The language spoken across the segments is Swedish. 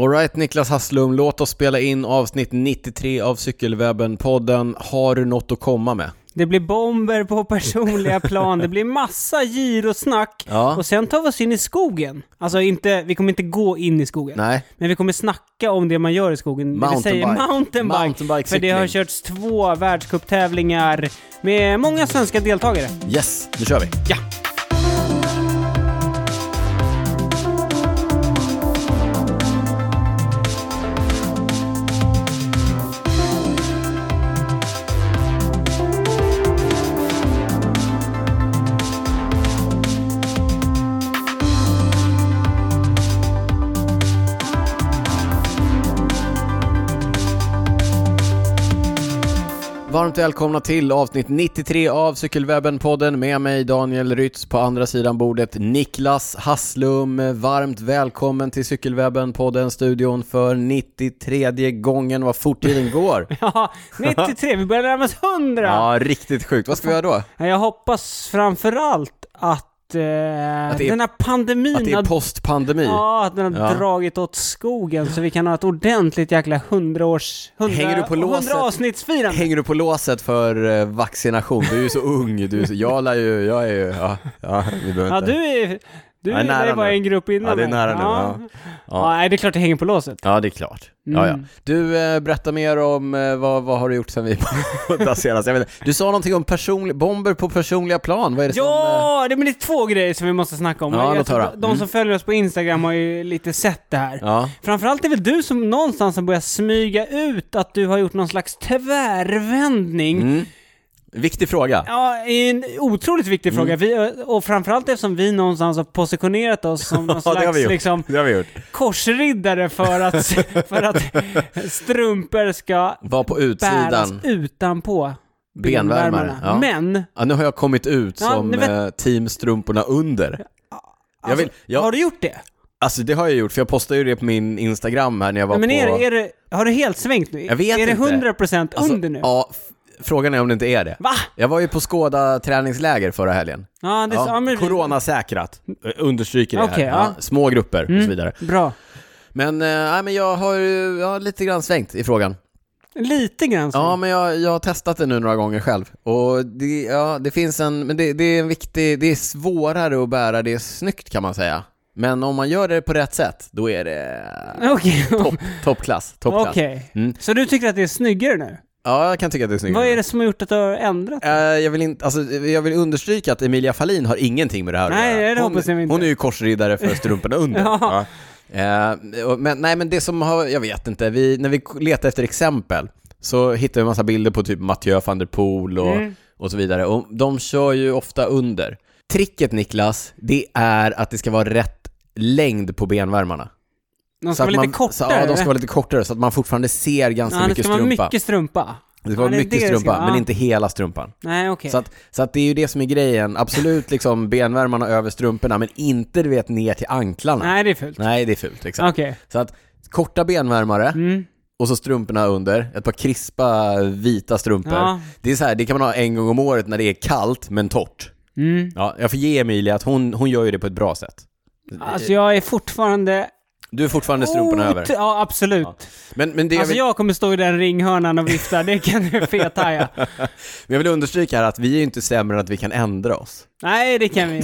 Alright Niklas Hasslum, låt oss spela in avsnitt 93 av Cykelwebben-podden. Har du något att komma med? Det blir bomber på personliga plan, det blir massa girosnack. Ja. Och sen tar vi oss in i skogen. Alltså inte, vi kommer inte gå in i skogen. Nej. Men vi kommer snacka om det man gör i skogen. Det vill säga Mountainbike. mountainbike. Mountainbike för det har cykling. körts två världscuptävlingar med många svenska deltagare. Yes, nu kör vi. Ja. Varmt välkomna till avsnitt 93 av Cykelwebben-podden med mig Daniel Rytz på andra sidan bordet Niklas Hasslum. Varmt välkommen till Cykelwebben-podden studion för 93 gången. Vad fort tiden går. Ja, 93, vi börjar närma oss 100! Ja, riktigt sjukt. Vad ska vi göra då? Ja, Jag hoppas framförallt att, eh, det är- den här pandemin Att det är har postpandemi. Ja, att den har Ja. dragit åt skogen så vi kan ha ett ordentligt jäkla hundraårs... Hundra, Hänger du på låset? avsnittsfirande. Hänger du på låset för eh, vaccination? Du är ju så ung, du är så, jag lär ju, jag är ju, ja, ja vi behöver Ja, inte. du är... Du Jag är är nära det var nu. en grupp innan Ja, det är mig. nära nu, Ja. ja. Ja. Ja. nej, det är klart det hänger på låset. Ja, det är klart. Ja, ja. Mm. Du, eh, berätta mer om eh, vad, vad har du gjort sen vi poddade senast? Jag vet, inte. du sa någonting om personlig, bomber på personliga plan, vad är det som... eh, Ja, det, men det är två grejer som vi måste snacka om. Ja, Jag låt tror- höra. de, Mm. som följer oss på Instagram har ju lite sett det här. Ja, Framförallt är väl du som någonstans har börjat smyga ut att du har gjort någon slags tvärvändning mm. Viktig fråga. Ja, en otroligt viktig Mm. fråga. Vi, och framförallt eftersom vi någonstans har positionerat oss som någon Ja, det har slags vi gjort. liksom, Det har vi gjort. korsriddare för att, för att strumpor ska Var på bäras utsidan, utanpå benvärmare. benvärmarna. Ja. Men, ja, nu har jag kommit ut Ja, som nu vet- eh, teamstrumporna under. Jag alltså, vill, jag, har du gjort det? Alltså det har jag gjort, för jag postade ju det på min Instagram här när jag var Men på... är, det- är det, har du helt svängt nu? Jag vet är det inte. 100% Alltså, under nu? Ja, f- frågan är om det inte är det. Va? Jag var ju på Skåda träningsläger förra helgen. Ja, det är så, ja, men, Mm. Coronasäkrat, Ö- understryker det här. Okej, ja. Mm. små grupper och så vidare. Bra. Men, eh, nej, men jag har ju jag har lite grann svängt i frågan. Lite grann så. Ja, men jag, jag har testat det nu några gånger själv. Och det, ja, det finns en, men det, det är en viktig, det är svårare att bära det snyggt kan man säga. Men om man gör det på rätt sätt, då är det Okej. topp, toppklass, toppklass. Okej. Mm. Så du tycker att det är snyggare nu? Ja, jag kan tycka att det är snyggare. Vad är det som har gjort att du har ändrat? Eh, jag, vill inte, alltså, jag vill understryka att Emilia Fahlin har ingenting med det här Nej, att göra. det hon, hoppas jag inte. hon är ju korsriddare för strumporna under. Ja. Eh, och- men, nej, men det som har, jag vet inte, vi, när vi letar efter exempel så hittar vi en massa bilder på typ Mathieu van der Poel och, Mm. och så vidare. Och de kör ju ofta under. Tricket Niklas, det är att det ska vara rätt längd på benvärmarna. De Så ska att vara lite man, kortare? Så, ja, de eller? ska vara lite kortare så att man fortfarande ser ganska Ja, det mycket ska vara strumpa. mycket strumpa. Det ska vara Ja, det är mycket det det strumpa, ska vara. men Ja. inte hela strumpan. Nej, okej. Så att, så att det är ju det som är grejen. Absolut liksom benvärmarna över strumporna, men inte du vet ner till anklarna. Nej, det är fult. Nej, det är fult. Exakt. Okej. Så att korta benvärmare Mm. och så strumporna under. Ett par krispa vita strumpor. Ja. Det är så här, det kan man ha en gång om året när det är kallt men torrt. Mm. Ja, jag får ge Emilia att hon, hon gör ju det på ett bra sätt. Alltså jag är fortfarande... Du är fortfarande strumporna Ot- över. Ja, absolut. Men, men det jag Alltså vill, jag kommer stå i den ringhörnan och vifta, det kan du fethaja. men jag vill understryka här att vi är ju inte sämre än att vi kan ändra oss. Nej, det kan vi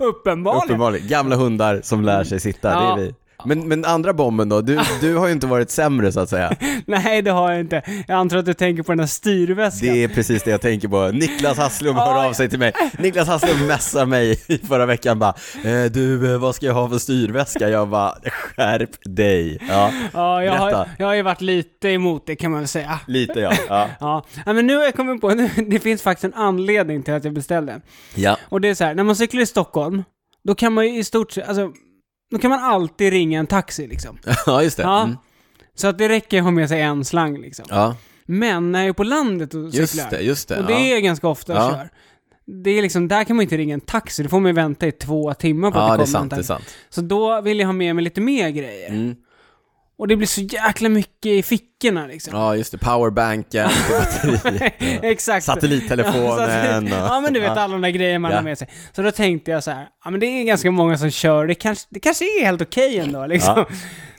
Uppenbarligen. Uppenbarligen. Gamla hundar som lär sig sitta, Ja. det är vi. Men, men andra bomben då? Du, du har ju inte varit sämre så att säga. Nej, det har jag inte. Jag antar att du tänker på den här styrväskan. Det är precis det jag tänker på. Niklas Hasslum hör Ja, av sig till mig. Niklas Hasslum messar mig i förra veckan bara eh, Du, eh, vad ska jag ha för styrväska? Jag bara, skärp dig. Ja, Ja, jag har, Berätta. jag har ju varit lite emot det kan man väl säga. lite ja. Ja. Ja, Nej, men nu har jag kommit på, nu, det finns faktiskt en anledning till att jag beställde. ja. Och det är så här, när man cyklar i Stockholm, då kan man ju i stort sett, alltså, då kan man alltid ringa en taxi liksom. Ja, just det. Ja. Mm. Så att det räcker att ha med sig en slang liksom. Ja, Men när jag är på landet och just cyklar, det, just det. och det ja. är ganska ofta Ja. jag kör, det är liksom, där kan man inte ringa en taxi, då får man ju vänta i två timmar på att Ja, det är det kommer en sant, det är taxi. sant. Så då vill jag ha med mig lite mer grejer. Mm. Och det blir så jäkla mycket i fickorna liksom. Ja, just det. Powerbanken, batteriet, Exakt. Ja, så satellittelefonen. att- ja men du vet alla de där grejerna man Ja. har med sig. Så då tänkte jag så här, ja men det är ganska många som kör, det kanske, det kanske är helt okej ändå liksom.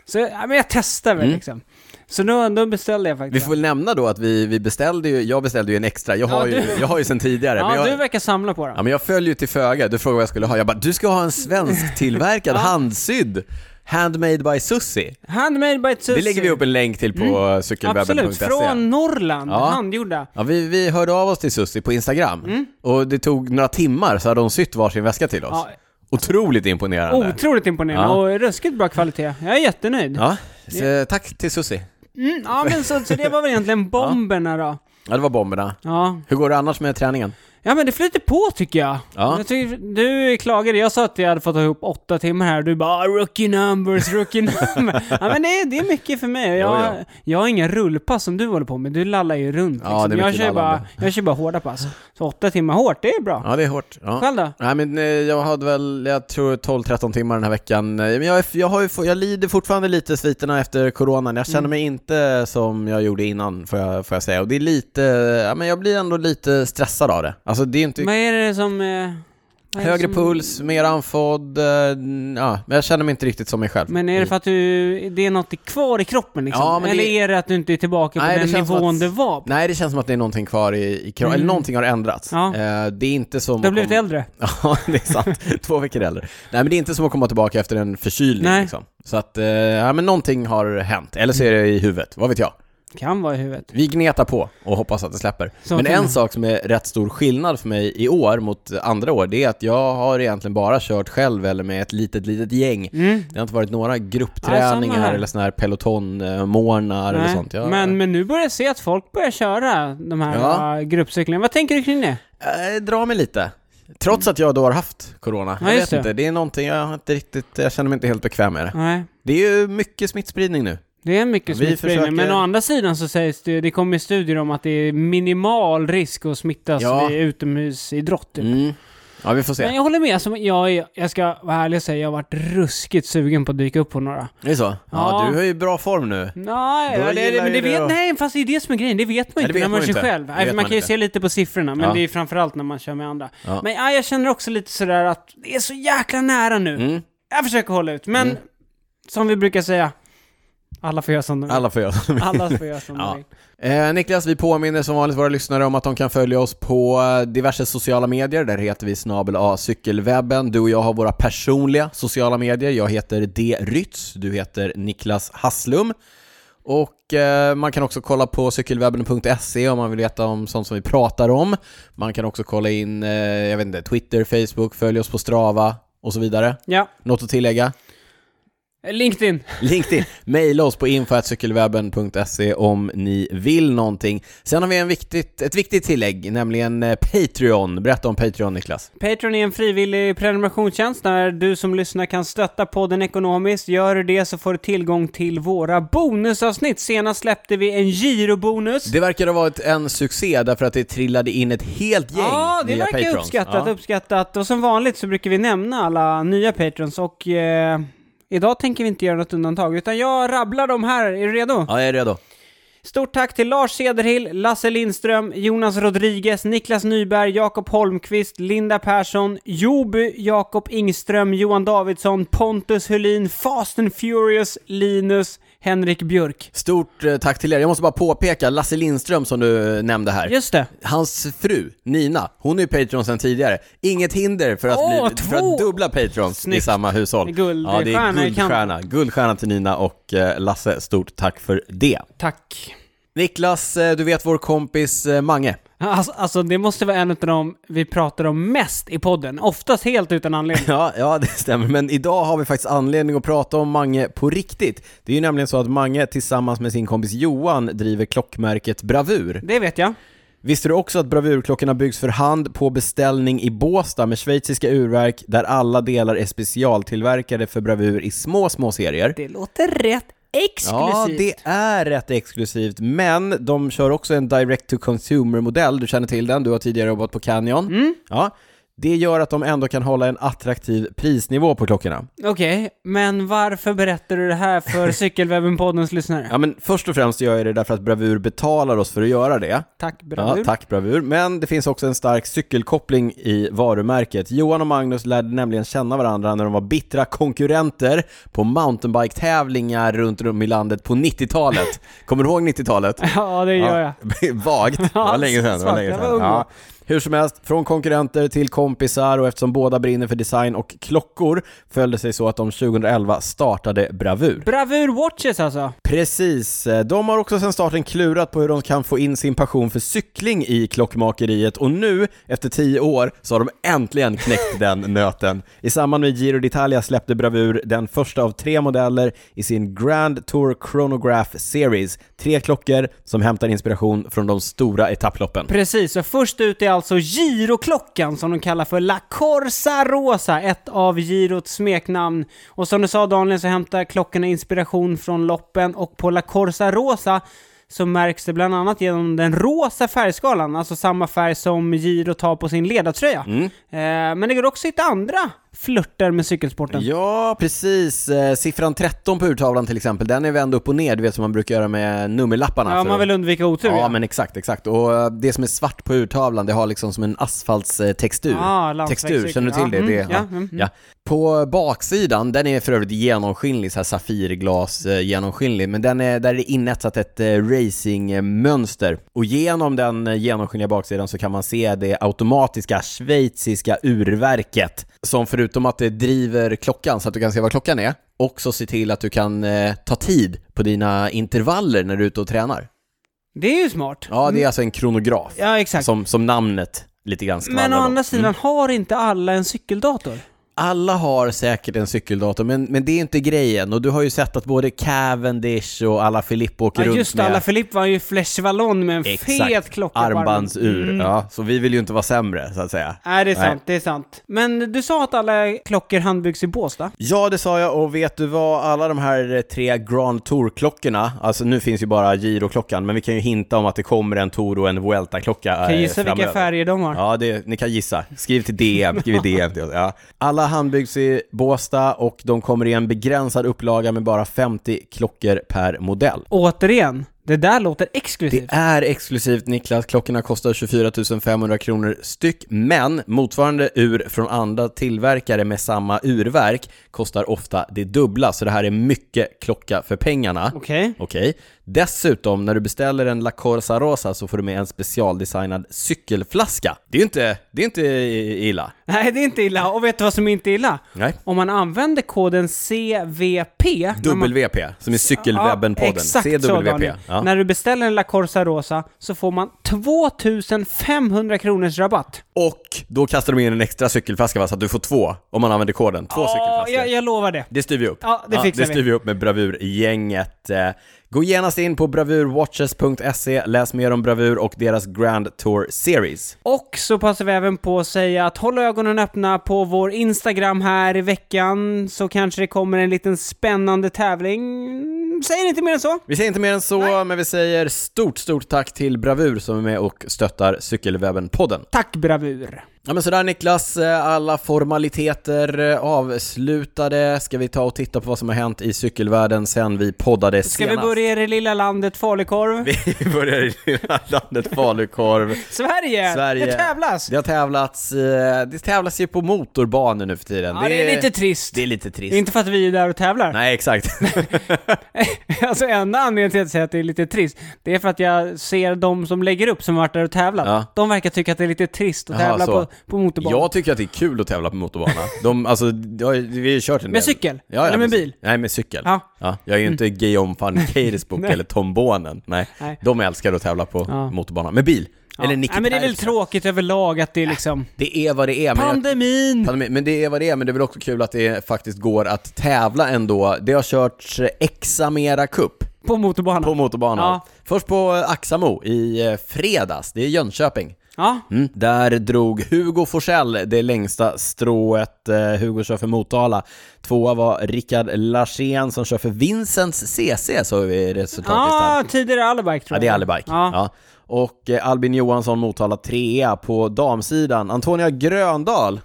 Så ja, men jag testar väl Mm. liksom. Så då, då beställde jag faktiskt. Vi får väl nämna då att vi, vi beställde ju, jag beställde ju en extra, jag Ja, har, ju, du- jag har ju sen tidigare. ja, men jag, du verkar samla på dem. Ja, men jag följer ju till föga. Du frågade vad jag skulle ha. Jag bara, du ska ha en svensk tillverkad handsydd. Handmade by Sussi. Handmade by Tusi. Det lägger vi upp en länk till på mm. Absolut, cykelwebben.se. från Norrland, Ja. handgjorda. Ja, vi, vi hörde av oss till Sussi på Instagram Mm. och det tog några timmar så hade hon sytt varsin väska till oss. Ja. Otroligt imponerande. Otroligt imponerande Ja. och ruskigt bra kvalitet. Jag är jättenöjd. Ja, så, tack till Sussi. Mm, ja men så, så det var väl egentligen bomberna då. Ja, det var bomberna. Ja. Hur går det annars med träningen? ja, men det flyter på tycker jag. Ja. jag tycker, du klagade, jag sa att jag hade fått ihop åtta timmar här och du bara "Ah, 'Rookie numbers, rookie numbers' Ja men det, är- det är mycket för mig. Jag, Jo, jo. jag har inga rullpass som du håller på med, du lallar ju runt liksom. Ja, det är jag, mycket kör bara, lallande. jag kör bara hårda pass. Så åtta timmar hårt, det är bra. Ja, det är hårt. Ja. Själv då? Nej men eh, jag hade väl, jag tror 12-13 timmar den här veckan. Eh, Men jag, är- jag, har ju, få- jag lider fortfarande lite sviterna efter coronan. Jag känner Mm. mig inte som jag gjorde innan får jag, får jag säga. Och det är lite, eh, ja men jag blir ändå lite stressad av det. Alltså det är inte Vad är det som... eh, vad är det högre som- puls, mer andfådd, eh, ja men jag känner mig inte riktigt som mig själv. Men är det för att du, det är något kvar i kroppen liksom? Mm. Ja, men Eller det- är det att du inte är tillbaka på Nej, det den känns som nivån att- du var på? Mm. Nej det känns som att det är någonting kvar i, i kroppen, eller någonting har ändrats. Mm. Ja. Eh, det är inte som Du har att blivit komma- äldre. Ja, det är sant. Två veckor äldre. Nej, men det är inte som att komma tillbaka efter en förkylning Nej. liksom. Så att, eh, ja men någonting har hänt. Eller så är det i huvudet, vad vet jag. Kan vara i huvudet. Vi gnetar på och hoppas att det släpper. Så men kan en det. sak som är rätt stor skillnad för mig i år mot andra år, det är att jag har egentligen bara kört själv eller med ett litet, litet gäng. Mm. Det har inte varit några Nej, samma gruppträningar här. eller sådana här pelotonmånar eller Nej. sånt. Jag, Men, men nu börjar jag se att folk börjar köra de här Ja. ja. gruppcyklingarna. Vad tänker du kring det? eh, drar mig lite. Trots att jag då har haft corona. Ja, jag vet just det. inte, det är någonting jag har inte riktigt, jag känner mig inte helt bekväm med det. Nej. Det är ju mycket smittspridning nu. Det är mycket Vi smittspridning, försöker- men å andra sidan så sägs det, det kommer studier om att det är minimal risk att smittas Ja. vid utomhusidrott. Typ. Mm. Ja, vi får Men se. jag håller med, som jag, är- jag ska vara ärlig och säga, jag har varit ruskigt sugen på att dyka upp på några. Det är så? Ja, Ja. du är i bra form nu. Nej, Då ja, det, gillar det, men ju det du vet, att- nej, fast det är det som är grejen. Det vet man Nej, det inte vet när man, man kör inte. själv. Det Nej, vet man man kan ju inte. se lite på siffrorna, men Ja. det är framförallt när man kör med andra. Ja. Men ja, jag känner också lite sådär att det är så jäkla nära nu. Mm. Jag försöker hålla ut, men som vi brukar säga, alla får göra som de vill. Alla får göra som de vill. Alla får göra som Ja. de vill. eh, Niklas, vi påminner som vanligt våra lyssnare om att de kan följa oss på eh, diverse sociala medier. Där heter vi snabel A cykelwebben. Du och jag har våra personliga sociala medier. Jag heter D. Rytz, du heter Niklas Hasslum. Och eh, man kan också kolla på cykelwebben.se om man vill veta om sånt som vi pratar om. Man kan också kolla in, eh, jag vet inte, Twitter, Facebook, följ oss på Strava och så vidare. Ja. Något att tillägga? LinkedIn. LinkedIn. Maila oss på info.cykelwebben.se om ni vill någonting. Sen har vi en viktigt, ett viktigt tillägg, nämligen eh, Patreon. Berätta om Patreon, Niklas. Patreon är en frivillig prenumerationstjänst där du som lyssnar kan stötta podden ekonomiskt. Gör du det så får du tillgång till våra bonusavsnitt. Senast släppte vi en girobonus. Det verkar ha varit en succé därför att det trillade in ett helt gäng Ja, det nya verkar patrons. uppskattat, Ja. uppskattat. Och som vanligt så brukar vi nämna alla nya patrons och eh, idag tänker vi inte göra något undantag, utan jag rabblar dem här. Är du redo? ja, jag är redo. Stort tack till Lars Cederhill, Lasse Lindström, Jonas Rodriguez, Niklas Nyberg, Jakob Holmqvist, Linda Persson, Joby, Jakob Ingström, Johan Davidsson, Pontus Hulin, Fast and Furious, Linus, Henrik Björk. Stort eh, tack till er. Jag måste bara påpeka, Lasse Lindström som du eh, nämnde här. Just det. Hans fru, Nina, hon är ju Patreon sedan tidigare. Inget hinder för att, Åh, bli, för två! att dubbla Patrons i Snyggt. samma hushåll. Guldstjärna ja, i det är kanten. guldstjärna. Guldstjärna till Nina och eh, Lasse. Stort tack för det. Tack. Niklas, eh, du vet vår kompis eh, Mange. Alltså, alltså det måste vara en av de vi pratar om mest i podden. Oftast helt utan anledning. Ja, ja, det stämmer. Men idag har vi faktiskt anledning att prata om Mange på riktigt. Det är ju nämligen så att Mange tillsammans med sin kompis Johan driver klockmärket Bravur. Det vet jag. Visste du också att bravurklockorna byggs för hand på beställning i Båstad med schweiziska urverk där alla delar är specialtillverkade för bravur i små, små serier? Det låter rätt Ja, exklusivt. det är rätt exklusivt, men Mm. de kör också en direct to consumer-modell, du känner till den, du har tidigare jobbat på Canyon. Ja, Det gör att de ändå kan hålla en attraktiv prisnivå på klockorna. Okej, men varför berättar du det här för Cykelwebben-poddens lyssnare? Ja, men först och främst gör jag det därför att Bravur betalar oss för att göra det. Tack, Ja, bravur. tack Bravur. Men det finns också en stark cykelkoppling i varumärket. Johan och Magnus lärde nämligen känna varandra när de var bittra konkurrenter på mountainbike-tävlingar runt om i landet på 90-talet. Kommer du ihåg 90-talet? Ja, det gör jag. Vagt. Det var Ja, länge sedan. Det var svart, länge jag var sedan. ung då. Ja. Hur som helst, från konkurrenter till kompisar och eftersom båda brinner för design och klockor följde sig så att de 2011 startade Bravur. Bravur Watches alltså. Precis. De har också sedan starten klurat på hur de kan få in sin passion för cykling i klockmakeriet och nu, efter tio år, så har de äntligen knäckt den nöten. I samband med Giro d'Italia släppte Bravur den första av tre modeller i sin Grand Tour Chronograph Series. Tre klockor som hämtar inspiration från de stora etapploppen. Precis, så först ut är alltså giroklockan som de kallar för La Corsa Rosa, ett av girots smeknamn. Och som du sa Daniel så hämtar klockorna inspiration från loppen och på La Corsa Rosa så märks det bland annat genom den rosa färgskalan, alltså samma färg som girot har på sin ledartröja. Mm. Eh, men det går också att hitta andra flörter med cykelsporten. Ja, precis. Eh, Siffran 13 på urtavlan till exempel, den är vänd upp och ner, du vet som man brukar göra med nummerlapparna. Ja, för man att- vill undvika otur. Ja, men exakt, exakt. Och eh, det som är svart på urtavlan, det har liksom som en asfaltstextur. Ah, landsvägscykel. textur, känner du till det? det Ja, mm, ja, mm, ja. På baksidan, den är för övrigt genomskinlig, så här safirglas eh, genomskinlig, men den är, där är det inetsat ett eh, racingmönster. Och genom den eh, genomskinliga baksidan så kan man se det automatiska schweiziska urverket, som förutom att det driver klockan så att du kan se vad klockan är, också se till att du kan eh, ta tid på dina intervaller när du är ute och tränar. Det är ju smart. Ja, det är alltså en kronograf. Mm. Ja, exakt. Som, som namnet lite grann Men å skvallrar om. andra sidan, har inte alla en cykeldator? Alla har säkert en cykeldator, men, men det är inte grejen. Och du har ju sett att både Cavendish och alla Filippo åker Ja, runt just det, med alla Filipp var ju Flesh Vallon med en exakt, fet klocka på armen. Mm. armbandsur. Ja, så vi vill ju inte vara sämre, så att säga. Nej, det är Nej. sant, det är sant. Men du sa att alla klockor handbyggs i Båstad? Ja, det sa jag. Och vet du vad? Alla de här eh, tre Grand Tour-klockorna, alltså nu finns ju bara Giro-klockan, men vi kan ju hinta om att det kommer en Tour och en Vuelta-klocka Kan eh, jag gissa vilka framöver. färger de har? Ja, det, ni kan gissa. Skriv till DM, skriv i DM till oss. Ja. Alla handbyggs i Båstad och de kommer i en begränsad upplaga med bara 50 klockor per modell. Återigen, det där låter exklusivt. Det är exklusivt Niklas, klockorna kostar 24 500 kronor styck, men motsvarande ur från andra tillverkare med samma urverk kostar ofta det dubbla, så det här är mycket klocka för pengarna. Okej. Okej. Dessutom, när du beställer en La Corsa Rosa så får du med en specialdesignad cykelflaska. Det är ju inte, det är inte illa. Nej, det är inte illa. Och vet du vad som inte är illa? Nej. Om man använder koden CVP... när man- WP, som är Cykelwebben-podden. Ja, exakt så, CWP. Daniel. Ja. När du beställer en La Corsa Rosa så får man 2500 kronors rabatt. Och då kastar de in en extra cykelflaska va, så att du får två om man använder koden. Två Ja, cykelflaskor. jag, jag lovar det. Det styr vi upp. Ja, det fixar det vi. styr vi upp med Bravurgänget. Eh, Gå genast in på bravurwatches.se, läs mer om Bravur och deras Grand Tour Series. Och så passar vi även på att säga att håll ögonen öppna på vår Instagram här i veckan så kanske det kommer en liten spännande tävling. Mm, Säger inte mer än så. Vi säger inte mer än så, men vi säger stort, stort tack till Bravur som är med och stöttar Cykelwebben-podden. Tack bravur. Ja men sådär Niklas, Eh, alla formaliteter eh, avslutade. Ska vi ta och titta på vad som har hänt i cykelvärlden sen vi poddade Ska senast? vi börja i det lilla landet falukorv? Vi börjar i lilla landet Falukorv. Sverige! Sverige. Det tävlas! Det har tävlats, eh, det tävlas ju på motorbanor nu för tiden. Ja, det, är lite trist. det är lite trist. Inte för att vi är där och tävlar. Nej, exakt. alltså enda anledningen till att säga att det är lite trist, det är för att jag ser de som lägger upp som har varit där och tävlat. Ja. De verkar tycka att det är lite trist att Jaha, tävla så. på, på motorbanan. Jag tycker att det är kul att tävla på motorbana. De, alltså, det har ju- vi har ju kört en Med del. cykel? Ja, ja, Eller med precis. bil? Nej, med cykel. Ja. jag är ju inte Guillaume van Keiresbook eller Tombonen. Nej. Nej. de älskar att tävla på Ja. motorbana. Med bil. Ja. Eller Nicky Nej, men det är väl Terpstra. tråkigt överlag att det är liksom... Det är vad det är. Men jag- Pandemin! Pandemi. Men det är vad det är, men det är väl också kul att det faktiskt går att tävla ändå. Det har körts eh, Examera Cup På motorbanan. på motorbanan. Ja. Först på eh, Axamo i eh, fredags, det är Jönköping. Ja, Mm. Där drog Hugo Forsell det längsta strået. Eh, Hugo kör för Motala. Tvåa var Rickard Larsén som kör för Vincents CC, så vi resultatlistan. ja tidigare Allebike tror Ja, jag. det är Allebike. Ja. Ah. Ja. Och eh, Albin Johansson Motala trea på damsidan. Antonia Gröndal.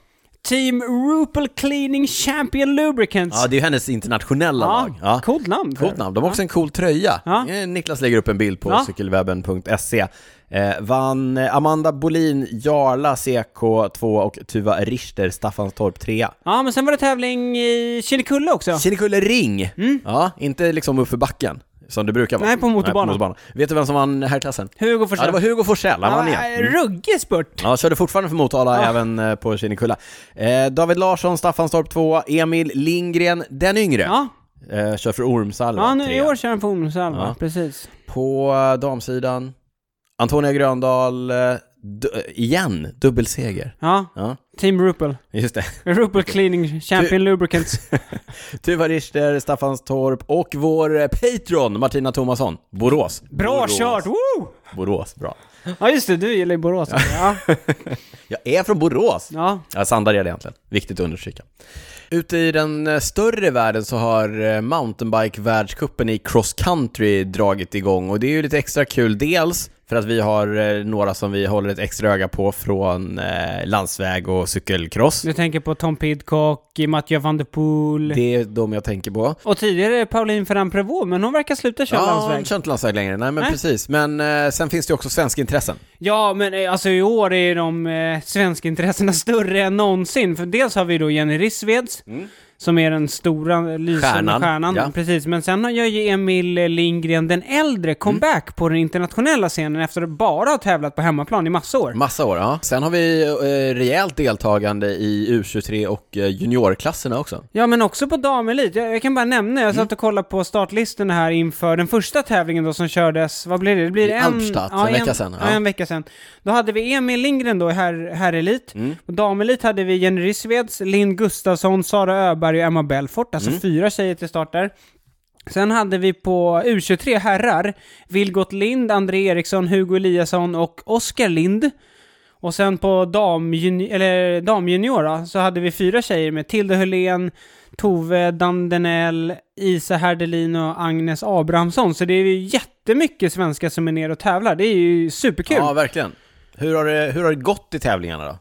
Team Rupel Cleaning Champion Lubricants. Ja, det är ju hennes internationella lag. Ja. Coolt namn. för Coolt namn. De har också en cool tröja. Ja. Eh, Niklas lägger upp en bild på Ja. cykelwebben.se. Eh, vann eh, Amanda Bolin, Jarla CK 2 och Tuva Richter, Staffanstorp 3. Ja, men sen var det tävling i Kinnekulle också. Kinnekulle Ring! Ja, inte liksom uppför backen, som det brukar vara. Mm. Nej, på motorbanan. Vet du vem som vann här klassen? Hugo Forsell. Ja, det var Hugo Forsell. Han vann igen. Mm. Ja, Ruggig spurt. Ja, körde fortfarande för Motala även eh, på Kinnekulla. Eh, David Larsson, Staffanstorp 2, Emil Lindgren, den yngre, Ja, eh, kör för Ormsalva ja nu, trea. i år kör han på ungdomsalva. Ja. Precis. På eh, damsidan, Antonia Gröndal, eh, du, igen, dubbelseger. Ja, Ja, Team Rupel. just det. Rupel Cleaning Champion Lubricants. Tuva Richter, Staffanstorp och vår eh, patron Martina Thomasson, Borås. Bra Borås. kört! Woo! Borås, bra. Ja, just det. Du gillar ju Borås. Ja. Jag är från Borås. ja. Ja, Sandared egentligen. Viktigt att understryka. Ute i den eh, större världen så har eh, mountainbike-världscupen i cross country dragit igång och det är ju lite extra kul. Dels för att vi har eh, några som vi håller ett extra öga på från eh, landsväg och cykelcross. Du tänker på Tom Pidcock, Mathieu van der Poel. Det är de jag tänker på. Och tidigare Pauline Ferran Prevot, men hon verkar sluta köra Ja, landsväg. jag kör inte landsväg längre. Nej, men Nej. precis. Men eh, sen finns det ju också svenska intressen. Ja, men eh, alltså i år är de eh, svenska intressena större än någonsin. För dels har vi då Jenny Rissveds, som är den stora eh, lysande Mm. Stjärnan, stjärnan. ja. Precis, men sen har jag ju Emil eh, Lindgren, den äldre, Mm. comeback på den internationella scenen efter att bara ha tävlat på hemmaplan i massa år. Massa år, ja. Sen har vi eh, rejält deltagande i U23 och eh, juniorklasserna också. Ja, men också på damelit. Jag, jag kan bara nämna, jag Mm. satt och kollade på startlistorna här inför den första tävlingen då som kördes, vad blir det? Det blir I en... Albstadt, en vecka sedan, Ja. ja. en vecka sedan. Då hade vi Emil Lindgren då i herr, herrelit. Mm. Och damelit hade vi Jenny Rissveds, Linn Gustafsson, Sara Öberg och Emma Belfort. Alltså Mm. fyra tjejer till start där. Sen hade vi på U23 herrar Vilgot Lind, André Eriksson, Hugo Eliasson och Oskar Lind. Och sen på damjuni- eller damjunior då, så hade vi fyra tjejer med Tilde Hölén, Tove Dandenell, Isa Herdelin och Agnes Abrahamsson. Så det är ju jättemycket svenskar som är nere och tävlar. Det är ju superkul. Ja, Ja, verkligen. Hur har, det, hur har det gått i tävlingarna då?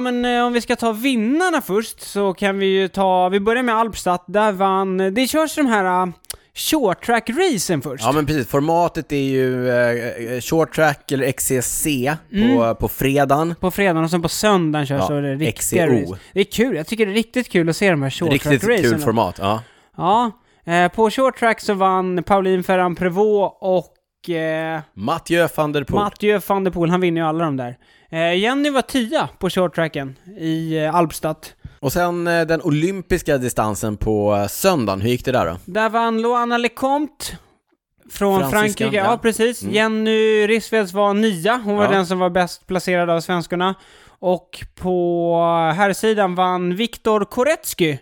men eh, om vi ska ta vinnarna först så kan vi ju ta, vi börjar med Alpstadt, där vann, det körs de här eh, short track-racen först. Ja men precis, formatet är ju eh, short track eller XCC Mm. på, på fredagen. På fredagen och sen på söndagen körs Ja, så det riktiga XCO. race. Det är kul, jag tycker det är riktigt kul att se de här short Riktigt track-racen. kul format, ja. Ja, eh, på short track så vann Pauline Ferran Prevot och eh, Mathieu van der Poel. Mathieu van der Poel, han vinner ju alla de där. Eh, Jenny var tia på short tracken i eh, Alpstadt. och sen eh, den olympiska distansen på eh, söndagen, hur gick det där då? Där vann Loana Lecomte från Fransiskan, Frankrike. ja. Mm. Ja, precis. Jenny Rissveds var nia. Hon var Ja. den som var bäst placerad av svenskorna. Och på herrsidan vann Viktor Koretsky.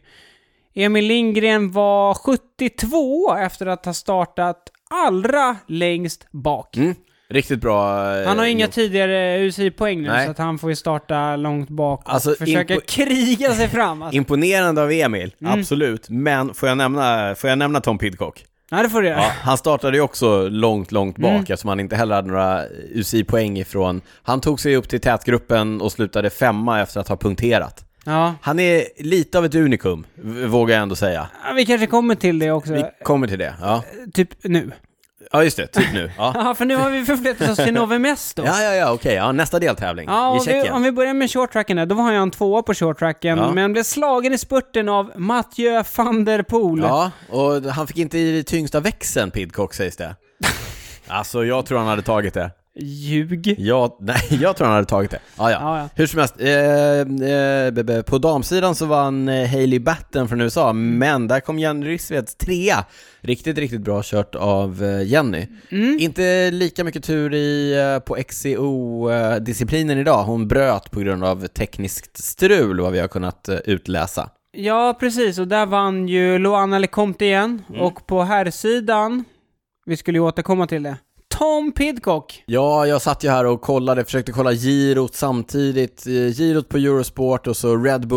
Emil Lindgren var 72 efter att ha startat allra längst bak. Mm. Riktigt bra. eh, Han har inga gjort. tidigare UCI-poäng nu, Nej. så att han får ju starta långt bak och Alltså, försöka Mm. impo- kriga sig fram. Alltså. Imponerande av Emil, absolut. Men får jag nämna, får jag nämna Tom Pidcock? Nej, det får du göra. Ja, han startade ju också långt, långt bak Mm. eftersom han inte heller hade några UCI-poäng ifrån. Han tog sig upp till tätgruppen och slutade femma efter att ha punkterat. Ja. Han är lite av ett unikum, v- vågar jag ändå säga. ja. Vi kanske kommer till det också, Vi kommer till det. Ja, typ nu. ja just det. Typ nu. Ja, Ja, för nu har vi förflyttat oss till Novemes då. ja, ja, ja okej. Ja, nästa deltävling Ja, i om vi, Tjeckien. om vi börjar med shorttracken där, då var jag en tvåa på shorttracken, Ja. men blev slagen i spurten av Mathieu van der Poel. Ja, och han fick inte i tyngsta växeln, Pidcock, sägs det. Alltså, jag tror han hade tagit det. Ljug. Jag, nej, jag tror han hade tagit det. Ja, ja. Ja, ja. Hur som helst, eh, eh, be- be- på damsidan så vann eh, Hailey Batten från USA, men där kom Jenny Rissveds trea. Riktigt, riktigt bra kört av eh, Jenny. Mm. Inte lika mycket tur i, eh, på XCO-disciplinen eh, idag. Hon bröt på grund av tekniskt strul, vad vi har kunnat eh, utläsa. Ja, precis, och där vann Mm. ju Loana Lecomte igen, och på herrsidan, vi skulle ju återkomma till det, Tom Pidcock. Ja, jag satt ju här och kollade, försökte kolla girot samtidigt. Eh, Girot på Eurosport och så Red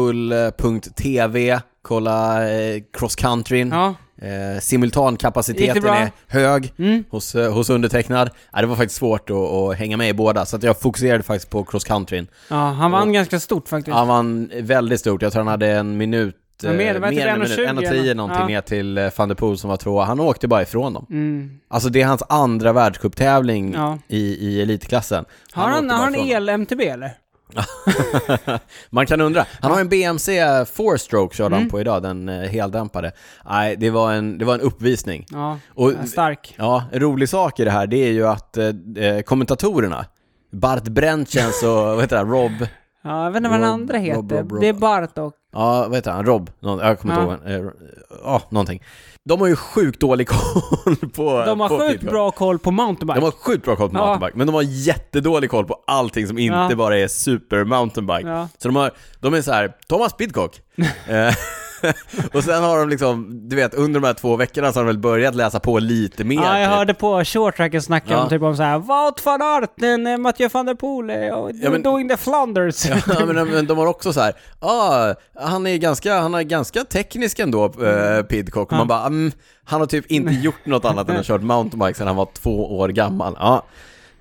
Bull.tv, kolla eh, cross countryn. Ja. Eh, Gick det simultankapaciteten bra? är hög Mm. hos, eh, hos undertecknad. Ja, det var faktiskt svårt att, att hänga med i båda, så att jag fokuserade faktiskt på cross countryn. ja, han vann ganska stort faktiskt. Han vann väldigt stort, jag tror han hade en minut, eh, Men mer, det var typ än en 1,20 minut, 1,10 eller? någonting Ja. ner till eh, van der Poel som var tvåa. Han åkte bara ifrån dem. Mm. Alltså det är hans andra världscuptävling Ja. i, i elitklassen. Har han, åkte bara har han E ifrån dem. el-MTB eller? Man kan undra. Han har en BMC 4-stroke körde Mm. han på idag, den eh, heldämpade. Nej, det var en, det var en uppvisning. Ja, Och, stark. ja, en rolig sak i det här, det är ju att eh, eh, kommentatorerna, Bart Brentjens och vad heter han, Rob, Ja, jag vet inte vad den Rob- andra Rob- heter. Rob- Rob- Det är Bartok. ja vad heter han, Rob, någon, jag kommer Ja. inte ihåg, eh, ja, någonting. De har ju sjukt dålig koll på... De har på typ- sjukt Pidcock. bra koll på mountainbike. De har sjukt bra koll på Ja. mountainbike, men de har jättedålig koll på allting som inte Ja. bara är super mountainbike. Ja. Så de, har, de är så här, Thomas Pidcock. Eh, och sen har de liksom, du vet, under de här två veckorna så har de väl börjat läsa på lite mer. Ja, jag typ. hörde på shorttracken snacka Ja. om typ om såhär Wout van Arten, eh, Mathieu van der Poel, eh, och Ja, men- doing the Flanders. Ja, men, de- men de har också så här, ah, han är ganska, han är ganska teknisk ändå, eh, Pidcock. Och man bara, mm, han har typ inte gjort något annat än att ha kört mountainbike sedan han var två år gammal. Ja.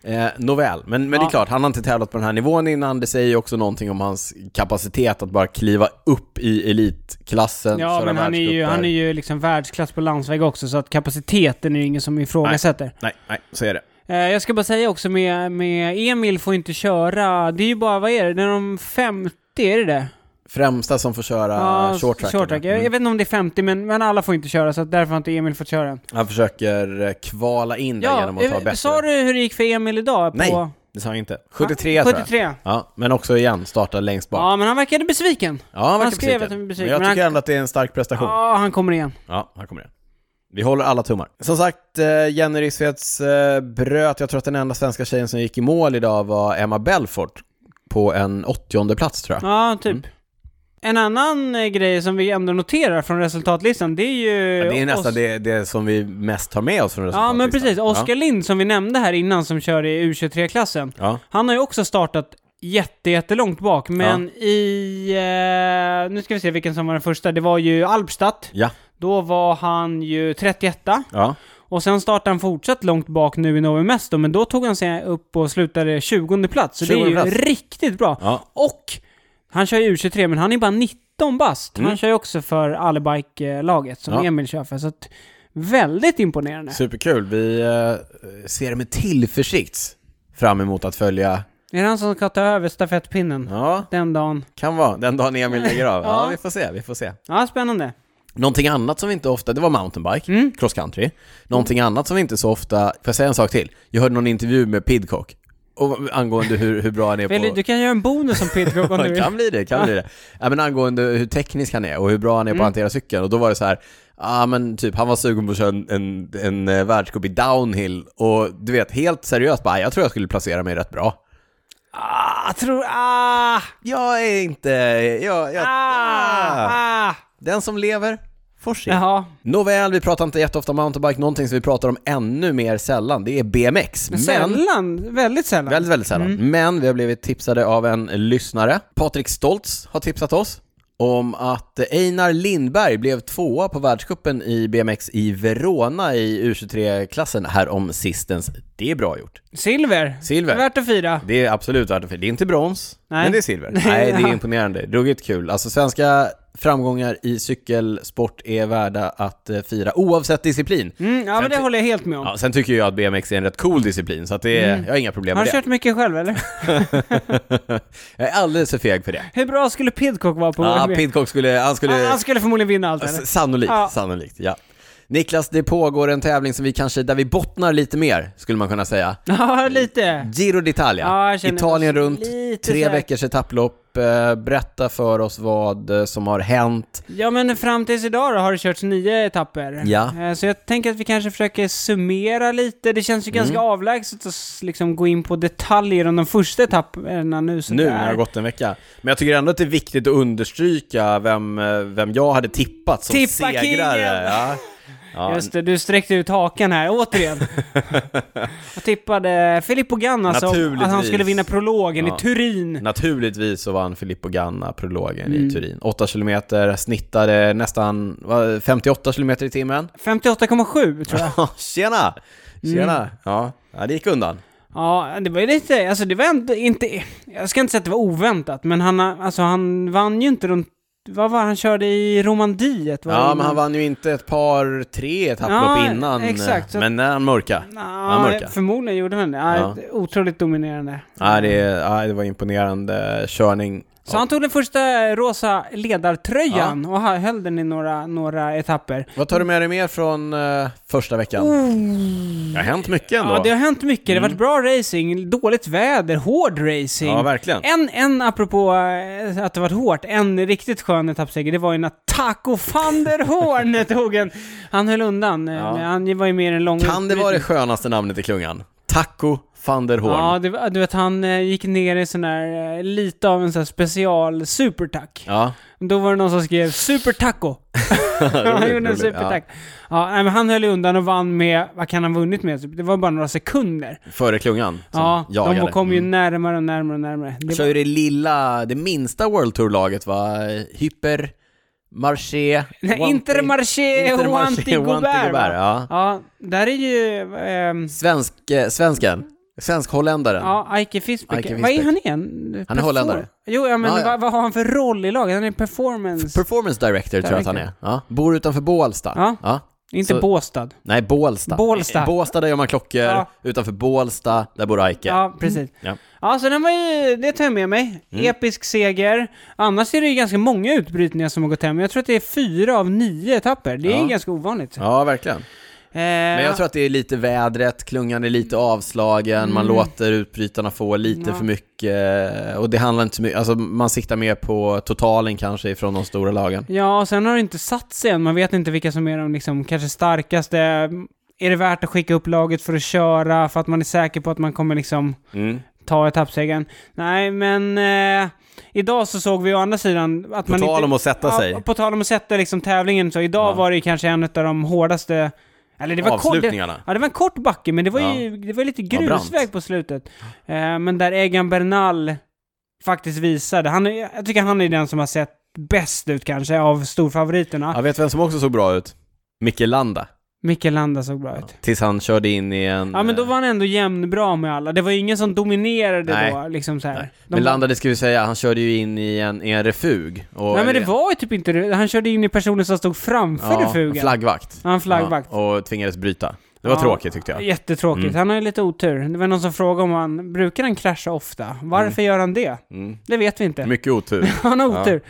Eh, nåväl, men, men det Ja. är klart, han har inte tävlat på den här nivån innan. Det säger ju också någonting om hans kapacitet att bara kliva upp i elitklassen, Ja, köra men han är, ju, världscuper. han är ju liksom världsklass på landsväg också, så att kapaciteten är ju ingen som ifrågasätter. Nej, nej, så är det. Eh, jag ska bara säga också med, med Emil får inte köra, det är ju bara, vad är det, när de 50, är det det? Främsta som får köra Ja, short track. shorttrack. Jag, Mm. jag vet inte om det är 50, men, men alla får inte köra, så att därför har inte Emil fått köra. Han försöker eh, kvala in där genom att eh, ta bättre. sa du hur det gick för Emil idag? På... Nej, det sa han inte. 73 tror jag. 73. Ja, men också igen, starta längst bak. Ja, men han verkade besviken. Ja, han, verkar han skrev besviken. att han är besviken, Men jag men tycker han- ändå att det är en stark prestation. Ja, Ja, han kommer igen. här kommer det. Vi håller alla tummar. Som sagt, eh, Jenny Rissveds eh, bröt, jag tror att den enda svenska tjejen som gick i mål idag var Emma Belfort på en åttionde plats tror jag. Ja, typ. Mm. En annan eh, grej som vi ändå noterar från resultatlistan, det är ju... Ja, det är nästan Os- det, det som vi mest tar med oss från Ja, resultatlistan. men precis. Oskar Ja. Lind som vi nämnde här innan som kör i U23-klassen. Ja. Han har ju också startat jätte, jättelångt bak, men i... Eh, nu ska vi se vilken som var den första. Det var ju Alpstadt. Ja. Då var han ju 31 ja. och sen startade han fortsatt långt bak nu i Novi Mesto, men då tog han sig upp och slutade 20 plats. Så det är ju 20:e plats. riktigt bra. Ja. Och han kör ju U23, men han är bara 19 bast. Han kör ju också för Allbike-laget som Mm. Ja. Emil kör för. Så att, väldigt imponerande. Superkul. Vi eh, ser med tillförsikt fram emot att följa. Är det han som ska ta över stafettpinnen Ja, den dagen? kan vara. Den dagen Emil lägger av. Ja, Ja. vi får se. Vi får se. Ja, spännande. Någonting annat som vi inte ofta, det var mountainbike, Mm. cross country. Någonting annat som vi inte så ofta, får jag säga en sak till? Jag hörde någon intervju med Pidcock och, angående hur, hur bra han är på... Vill, du kan göra en bonus om Pidcock om du vill. kan bli det, kan bli det. Ja, men angående hur teknisk han är och hur bra han är Mm. på att hantera cykeln. Och då var det så här, ah, men typ han var sugen på att köra en, en, en eh, världscup i downhill och du vet, helt seriöst bara, jag tror jag skulle placera mig rätt bra. Ah, jag tror... Ah, Jag är inte, jag, jag, ah. ah, ah. den som lever får se. Jaha. Nåväl, vi pratar inte jätteofta om mountainbike, någonting som vi pratar om ännu mer sällan, det är BMX. Men, Sällan. Mm. Väldigt sällan. väldigt, väldigt sällan. Men vi har blivit tipsade av en lyssnare. Patrik Stoltz har tipsat oss om att Einar Lindberg blev tvåa på världscupen i BMX i Verona i U23-klassen här om sistens. Det är bra gjort. Silver. Silver. Värt att fira. Det är absolut värt det, för det är inte brons, Nej. men det är silver. Nej, Nej, det är ja. imponerande. Ruggigt kul. Alltså svenska framgångar i cykelsport är värda att eh, fira oavsett disciplin. Mm, ja, men det håller jag helt med om. Ja, sen tycker jag att BMX är en rätt cool disciplin, så att det är, jag har inga problem Mm. med Har du det. kört mycket själv, eller? Jag är alldeles för feg för det. Hur bra skulle Pidcock vara på Ja, Alltså, OMV? Pidcock skulle, han skulle, Han, han skulle förmodligen vinna allt, eller? s- sannolikt, Ja. sannolikt, ja. Niklas, det pågår en tävling som vi kanske, där vi bottnar lite mer, skulle man kunna säga. Ja, lite. Giro d'Italia, Ja, jag känner Italien oss runt, lite tre så här- veckors etapplopp. Eh, Berätta för oss vad eh, som har hänt. Ja, men fram tills idag då har det körts nio etapper. Ja. Eh, Så jag tänker att vi kanske försöker summera lite. Det Mm. känns ju ganska avlägset att s- liksom gå in på detaljer om de första etapperna nu. Så Nu där. när det har gått en vecka. Men jag tycker ändå att det är viktigt att understryka vem, eh, vem jag hade tippat som Tippa segrare. kingen! Ja. Ja. Just det, du sträckte ut hakan här återigen. och tippade Filippo Ganna som att han Naturligtvis. skulle vinna prologen Ja. i Turin. Naturligtvis så vann Filippo Ganna prologen Mm. i Turin. 8 kilometer, snittade nästan vad, 58 kilometer i timmen. 58,7 tror jag. Tjena! Tjena! Mm. Ja. ja, det gick undan. Ja, det var ju lite, alltså det var ändå inte, jag ska inte säga att det var oväntat, men han, alltså han vann ju inte runt, vad var han körde i Romandiet? Var Ja, det- men han vann ju inte ett par, tre etapplopp Ja, innan. eh, exakt, så- Men när han mörka. han Nja, mörka. förmodligen gjorde han det. Ja, Otroligt dominerande. Ja, det, ja, det var imponerande körning. Så han tog den första rosa ledartröjan och här höll den i några, några etapper. Vad tar du med dig mer från eh, första veckan? Det har hänt mycket ändå. Oh. Ja, det har hänt mycket. Det har varit bra racing, dåligt väder, hård racing. Mm. Ja, verkligen. En, en apropå eh, att det varit hårt, en riktigt skön etappseger, det var ju när Taco van der Horn tog en... Han höll undan. eh, Ja. men Han var ju mer en lång... Kan det vara det skönaste namnet i klungan? Taco van der Horn. Ja, det, var- du vet han eh, gick ner i sån där, eh, lite av en sån här special supertack. Ja. Då var det någon som skrev supertaco. han Roligt, gjorde en roligt, supertack. Ja. nej, men han höll ju undan och vann med, vad kan han ha vunnit med? Typ, Det var bara några sekunder. ja. Före klungan. som Ja, jagade. Mm. de kom ju närmare och närmare och närmare. Det kör ju det lilla, det minsta World Tour-laget va? Hyper, Marché... Nej, Wanty- Intermarché och Intermarché, Wanty Gobert. va? ja. Ja, där är ju... ehm, Svensk, eh, svensken, svensk-holländaren. ja, Eike Fisbeck. Eike Vad är Fisbeck. han igen? Han är holländare. Jo, ja, men Ja, ja. Vad, vad har han för roll i laget? Han är performance... Performance director tror jag att han är. Ja. Bor utanför Bålsta. Ja. Inte så- Båstad. Nej, Bålsta. Bålsta. Eh, Båstad där gör man klockor, Ja. utanför Bålsta, där bor Eike. Ja, precis. Ja. Mm. Ja, så den var ju, det tar jag med mig. Episk seger. Annars är det ju ganska många utbrytningar som har gått hem. Jag tror att det är fyra av nio etapper. Det är Ja. ju ganska ovanligt. Eh, Ja, verkligen. Men jag tror att det är lite vädret, klungan är lite avslagen, man låter utbrytarna få lite Mm. Ja. för mycket. Och det handlar inte så mycket, alltså man siktar mer på totalen kanske ifrån de stora lagen. Ja, och sen har det inte satt sig än. Man vet inte vilka som är de liksom, kanske starkaste. Är det värt att skicka upp laget för att köra för att man är säker på att man kommer liksom Mm. ta etappsegern? Nej, men eh, idag så såg vi å andra sidan att På man tal inte... om att sätta sig. På tal om att sätta liksom tävlingen så. Idag Ja. var det ju kanske en av de hårdaste... Eller det var kort, det, Avslutningarna. ja, det var en kort backe, men det var Ja. ju det var lite Ja, brant. grusväg på slutet. Eh, men där Egan Bernal faktiskt visade. Han är, jag tycker han är den som har sett bäst ut kanske av storfavoriterna. Jag vet vem som också såg bra ut? Micke Landa. Mikael Landa såg bra ut. Tills han körde in i en... eh, Ja men då var han ändå jämnbra med alla. Det var ju ingen som dominerade Nej. då liksom så här. De Men var- Landa, det ska vi säga, han körde ju in i en, i en refug. Och Nej men det var ju typ inte det. Han körde in i personen som stod framför ja, refugen. Flaggvakt. Ja, en flaggvakt. Ja, och tvingades bryta. Det var Ja, tråkigt tyckte jag. Mm. Jättetråkigt. Han har ju lite otur. Det var någon som frågade om han... Brukar han krascha ofta? Varför gör han det? Mm. Det vet vi inte. Mycket otur. Han har otur.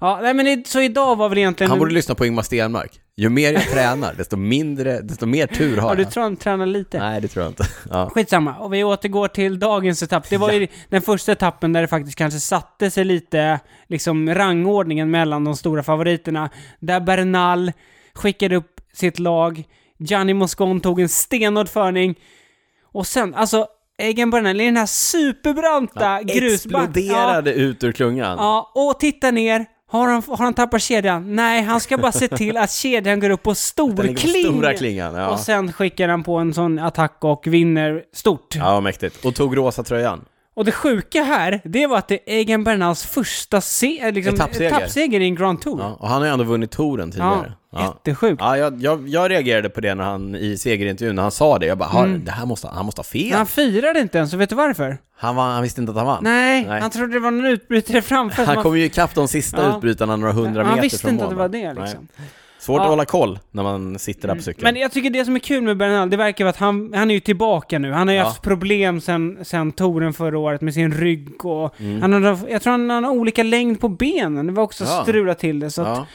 Ja, nej men i- så idag var väl egentligen... Han borde lyssna på Ingmar Stenmark. Ju mer jag tränar, desto mindre, desto mer tur har Ja, jag. du tror han tränar lite? Nej, det tror jag inte. Ja. Skitsamma, och vi återgår till dagens etapp. Det var ju den första etappen där det faktiskt kanske satte sig lite, liksom rangordningen mellan de stora favoriterna. Där Bernal skickade upp sitt lag, Gianni Moscon tog en stenhård förning, och sen, alltså, Egan Bernal i den här superbranta grusbacken. Exploderade ut ur klungan. Ah, Ja, och titta ner. Har han, har han tappat kedjan? Nej, han ska bara se till att kedjan går upp på Den ligger på storkling. stora klingan. Och Ja. sen skickar han på en sån attack och vinner stort. ja, mäktigt. Och tog rosa tröjan. Och det sjuka här, det var att det är Egan Bernals första se- äh, liksom, Etappseger. etappseger i en Grand Tour. Ja. Och han har ju ändå vunnit touren tidigare. Ja, jättesjukt. Ja, jag, jag, jag reagerade på det när han i segerintervjun, när han sa det. Jag bara, har, Mm. det här måste, han måste ha fel. Men Han firade inte ens, och vet du varför? Han, var, han visste inte att han vann. Nej, Nej. han trodde det var någon utbrytare framför. som Han kom ju ikapp de sista Ja. utbrytarna några hundra meter han visste från inte att det mål, var va? det Nej. liksom. Svårt Ja. Mm. att hålla koll när man sitter där på cykeln. Men jag tycker det som är kul med Bernal, det verkar vara att han, han är ju tillbaka nu. Han har ju Ja. haft problem sen, sen touren förra året med sin rygg och... Mm. Han har, jag tror han har olika längd på benen. Det var också Ja. strulat till det. Så att, ja.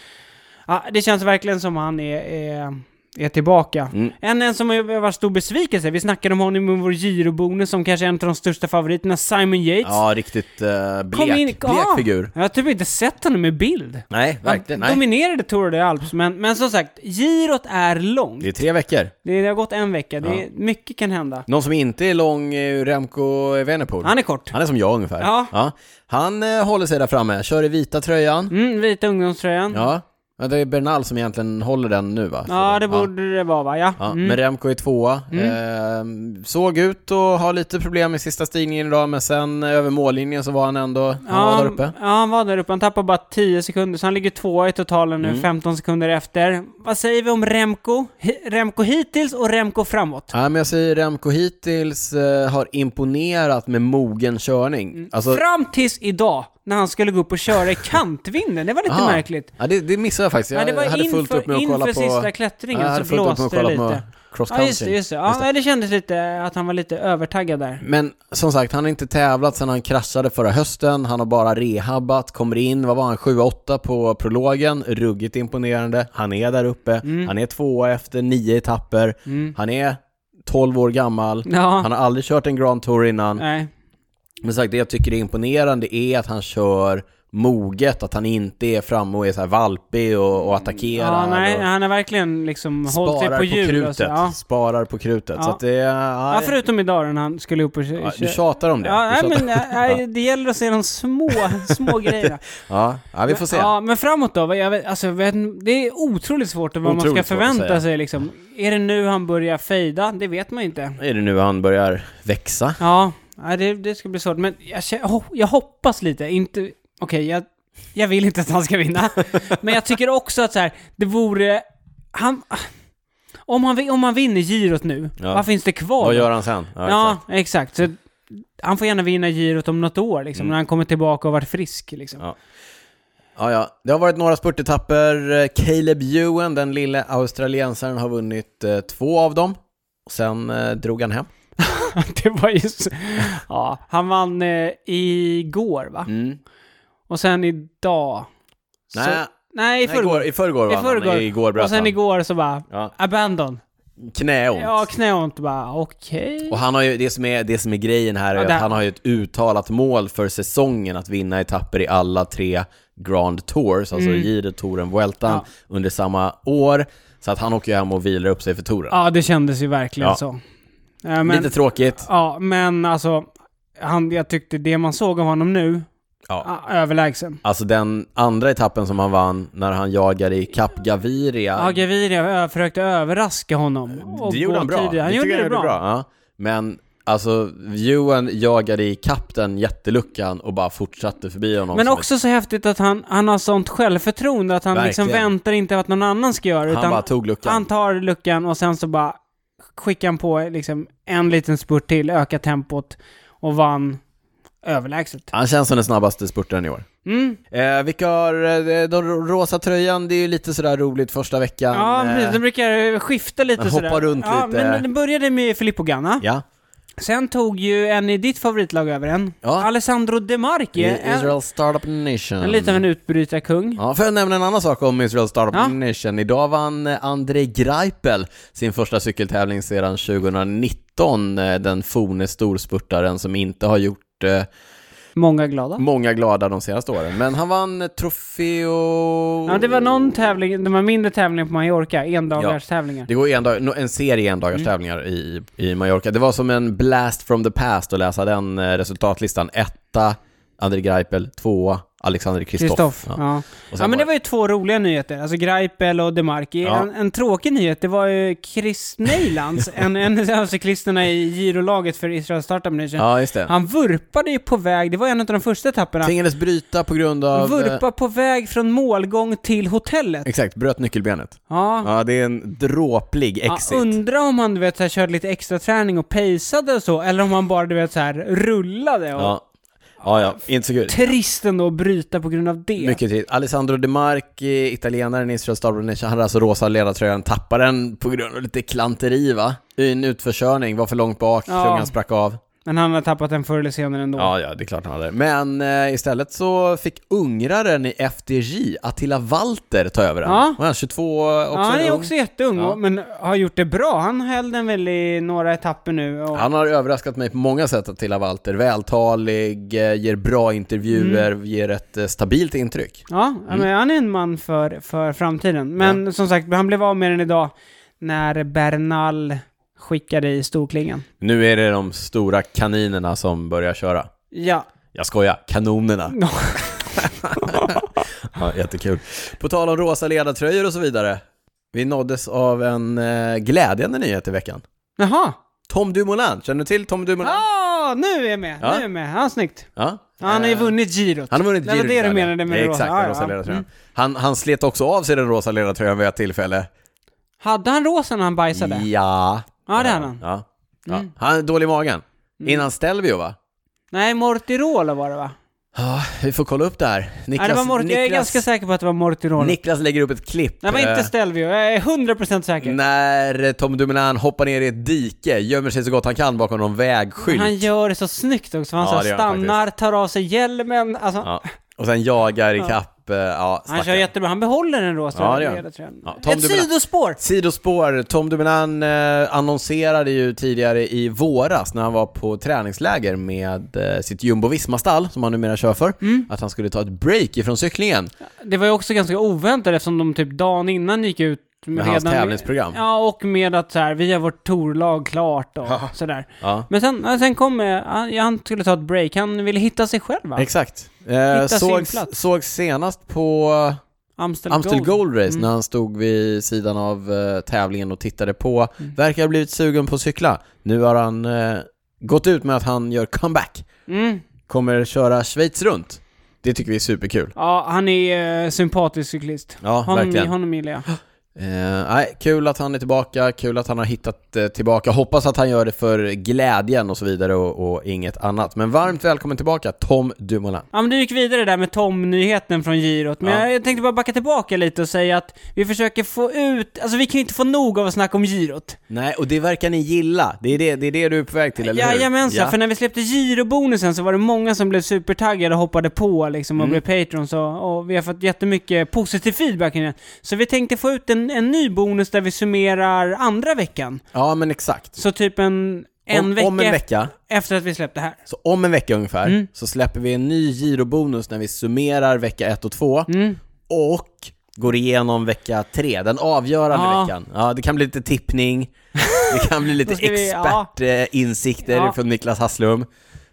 ja, det känns verkligen som han är, är, är tillbaka. Mm. En, en som har varit stor besvikelse, vi snackade om honom med vår girobonus som kanske är en av de största favoriterna, Simon Yates. ja, riktigt eh, blek, Kom in- blek Ja, figur. Jag har typ inte sett honom i bild. Nej, Han verkligen. Nej. dominerade Tour de Alps, men, men som sagt, girot är långt. Det är tre veckor. Det, det har gått en vecka, det är, mycket kan hända. Någon som inte är lång är ju Remco Evenepoel. Han är kort. Han är som jag ungefär. Ja. Han eh, håller sig där framme, kör i vita tröjan. Mm, vita ungdomströjan. Ja. Ja, det är Bernal som egentligen håller den nu va? Ja, Så- det borde det vara va? Ja. Ja, Mm. Men Remco är tvåa. Ehm, såg ut att ha lite problem med sista stigningen idag, men sen eh, över mållinjen så var han ändå, han var där uppe. ja, han var där uppe. Han tappade bara 10 sekunder, så han ligger tvåa i totalen Mm. nu, 15 sekunder efter. Vad säger vi om Remco? Hi- Remco hittills och Remco framåt. Nej, men jag säger Remco hittills eh, har imponerat med mogen körning. Mm. Alltså, Fram tills idag, när han skulle gå upp och köra i kantvinden. Det var lite ah, märkligt. Ja, det, det missade jag faktiskt. Jag Ja, det var hade inför, fullt upp med att kolla inför på... sista Ja, klättringen jag hade så fullt upp med blåste att det kolla lite. på cross Ja, country. just det, just det. Ja, det. kändes lite att han var lite övertaggad där. Men som sagt, han har inte tävlat sedan han kraschade förra hösten. Han har bara rehabbat, kommer in, vad var han, 7-8 på prologen. Ruggigt imponerande. Han är där uppe. Mm. Han är tvåa efter nio etapper. Han är 12 år gammal. Ja, Han har aldrig kört en Grand Tour innan. nej. Men sagt, det jag tycker är imponerande är att han kör moget, att han inte är framme och är så här valpig och, och attackerar. Ja, nej, och han har verkligen liksom hållit sig Sparar på på, hjul. krutet. och så. Ja. Sparar på krutet. Ja. Så att det är... Ja, Ja, förutom idag då när han skulle upp och kö- ja, kö- du tjatar om det. Ja, du nej, tjatar. men nej, det gäller att se de små, små grejerna. Ja, ja vi får se. Ja, men framåt då? vad Jag vet, alltså, jag vet, det är otroligt svårt vad man ska Otroligt svårt att förvänta säga. sig liksom. Är det nu han börjar fejda? Det vet man ju inte. Är det nu han börjar växa? Ja, nej, det, det ska bli svårt. Men jag, kä- ho- jag hoppas lite, inte... Okej, jag, jag vill inte att han ska vinna. men jag tycker också att så här, det vore... Han, om, han, vi- om han vinner girot nu, Ja. vad finns det kvar? Vad då? gör han sen? Ja, exakt. Så han får gärna vinna girot om något år, liksom, när han kommer tillbaka och varit frisk. Liksom. Mm. Ja. Ja, ja. Det har varit några spurtetapper. Caleb Ewan, den lille australiensaren, har vunnit eh, två av dem. Och Sen eh, drog han hem. Det var ju så... Ja, han vann eh, igår, va? Och sen idag... så- Mm. Nej, Nej, i nej, förrgår. igår, i förrgår vann förrgår. han. Igår bröt Och sen han. igår så bara... Ja. Abandon. Knäont. Ja, knäont bara, okej. Och han har ju, det, som är, det som är grejen här är Ja, det- att han har ju ett uttalat mål för säsongen att vinna etapper i alla tre Grand Tours, alltså Giro, Touren, Vueltan, Mm. Ja. under samma år. Så att han åker ju hem och vilar upp sig för touren. Ja, det kändes ju verkligen Ja. så. Eh, men, Lite tråkigt. ja, men alltså... Han, jag tyckte det man såg av honom nu, Ja. ja, överlägsen. Alltså den andra etappen som han vann när han jagade i Kap Gaviria. Ja, Gaviria ö- försökte överraska honom. och det gjorde gå han bra. tidigare. Han det gjorde tycker det jag bra. Ja. Men alltså, Ewan jagade i kapp den jätteluckan och bara fortsatte förbi honom. Men som också så häftigt att han, han har sånt självförtroende att han liksom Verkligen. väntar inte att någon annan ska göra ett... Han utan bara tog luckan. han tar luckan och sen så bara skickar han på liksom en liten spurt till, ökar tempot och vann överlägset. Han känns som den snabbaste spurtaren i år. Mm. Eh, vilka har, eh, den rosa tröjan, det är ju lite sådär roligt första veckan. Ja, Eh, precis. De brukar skifta lite hoppa sådär. runt ja, lite. Men det började med Filippo Ganna. ja. Sen tog ju en i ditt favoritlag över en. Ja. Alessandro De Marchi. I- En, Israel Startup Nation. en lite av en utbrytarkung. Ja, får jag nämna en annan sak om Israel Startup Ja. Nation. Idag vann eh, Andrei Greipel sin första cykeltävling sedan 2019, eh, den forne storspurtaren som inte har gjort eh, Många glada. många glada de senaste åren. Men han vann eh, Trofeo... Ja, det var någon tävling, det var mindre tävling på Mallorca, endagarstävlingar. Det går en, dag, no- en serie endagars tävlingar Mm. i, i Mallorca. Det var som en blast from the past att läsa den eh, resultatlistan. Etta, Andrei Greipel, tvåa, Alexander Kristoff. Kristoff. Ja. Och Ja. sen men var- det var ju två roliga nyheter. Alltså Greipel och DeMarki. Ja. En, en tråkig nyhet, det var ju Chris Neilands, en, en av cyklisterna i girolaget för Israel Startup Nation. ja just det. Han vurpade ju på väg, det var en av de första etapperna. Tvingades bryta på grund av... eh, Vurpa på väg från målgång till hotellet. Exakt, bröt nyckelbenet. Ja. Ja, det är en dråplig Ja, exit. undra om han du vet, så här, körde lite extra träning och paceade och så, eller om han bara du vet, så här, rullade. Och... ja. ja, ja, inte så kul. Trist ändå att bryta på grund av det. Mycket tid. Alessandro De Marchi, italienaren i Israel Starboard Nation, han hade alltså rosa ledartröjan, tappade den på grund av lite klanteri va? I en utförkörning, var för långt bak, Ja. klungan sprack av. Men han har tappat den förr eller senare ändå. Ja, ja, det är klart han hade. Men eh, istället så fick ungraren i FDJ, Attila Walter, ta över den. Ja. Och han är 22, också Ja, han en är ung. också jätteung, Ja. och- men har gjort det bra. Han höll den väl i några etapper nu. Och... Han har överraskat mig på många sätt, Attila Walter. Vältalig, eh, ger bra intervjuer, Mm. ger ett eh, stabilt intryck. Ja, ja, men han är en man för, för framtiden. Men som sagt, han blev av med den idag när Bernal skickade i storklingen. Nu är det de stora kaninerna som börjar köra. Ja. Mm. Jag skojar, kanonerna. Ja, jättekul. På tal om rosa ledartröjor och så vidare. Vi nåddes av en eh, glädjande nyhet i veckan. Jaha! Tom Dumoulin, känner du till Tom Dumoulin? Ah, nu är jag med! Ja. Eh. Nu är jag med. Ja, snyggt. Ja. Ja, han har ju vunnit girot. Han har vunnit Det var det du Giro-medaljen. menade med Det är det rosa. Exakt, den Ja, Mm. rosa ja. ledartröjan. Han, han slet också av sig den rosa ledartröjan vid ett tillfälle. Hade han rosa när han bajsade? Ja. Ja, det hade han. Mm. Ja. Ja. Han är dålig i magen. Innan Stelvio va? Nej, Mortirola var det va? Ja, vi får kolla upp det här. Niklas, Nej, det var Mort- Jag är Niklas, ganska säker på att det var Mortirola. Niklas lägger upp ett klipp. Nej, det var inte eh, Stelvio. Jag är 100% säker. när Tom Dumoulin hoppar ner i ett dike, gömmer sig så gott han kan bakom någon vägskylt. Han gör det så snyggt också. Han Ja, så här det gör han stannar, tar av sig hjälmen. Alltså, Ja. Och sen jagar ikapp, eh, ja, han kör stackaren. jättebra. Han behåller den rosa Ja, det gör han. ledartröjan. Ja, Tom Ett Dumoulin. sidospår! Sidospår, Tom Dumoulin eh, annonserade ju tidigare i våras när han var på träningsläger med eh, sitt Jumbo Visma-stall, som han numera kör för, Mm. att han skulle ta ett break ifrån cyklingen. Det var ju också ganska oväntat eftersom de typ dagen innan gick ut med, Med hans tävlingsprogram. Ja, och med att så här, vi har vårt torlag klart och sådär. Ja. Men sen, ja, sen kom, eh, han, han skulle ta ett break. Han ville hitta sig själv va? Exakt. Eh, Hitta sin såg, plats. såg senast på Amstel, Amstel Gold. Mm. Gold, Race när han stod vid sidan av eh, tävlingen och tittade på. Mm. Verkar ha blivit sugen på att cykla. Nu har han eh, gått ut med att han gör comeback. Mm. Kommer köra Schweiz runt. Det tycker vi är superkul. Ja, han är eh, sympatisk cyklist. Ja, Honom, verkligen. honom gillar jag. Eh, nej, kul att han är tillbaka, kul att han har hittat eh, tillbaka. Hoppas att han gör det för glädjen och så vidare och, och inget annat. Men varmt välkommen tillbaka, Tom Dumoulin. Ja men du gick vidare där med Tom-nyheten från girot, men Ja. jag tänkte bara backa tillbaka lite och säga att vi försöker få ut, alltså vi kan ju inte få nog av att snacka om girot. Nej, och det verkar ni gilla. Det är det, det, är det du är på väg till, eller hur? Jajamensan, för när vi släppte girobonusen så var det många som blev supertaggade och hoppade på liksom Mm. och blev patrons och, och vi har fått jättemycket positiv feedback kring den. Så vi tänkte få ut en, en ny bonus där vi summerar andra veckan. Ja, men exakt. Så typ en, en, om, vecka, om en vecka efter att vi släppte här. Så om en vecka ungefär Mm. så släpper vi en ny girobonus när vi summerar vecka 1 och 2 Mm. och går igenom vecka 3, den avgörande Ja. veckan. Ja, det kan bli lite tippning, det kan bli lite Då ska vi- ja. expertinsikter Ja. från Niklas Hasslum,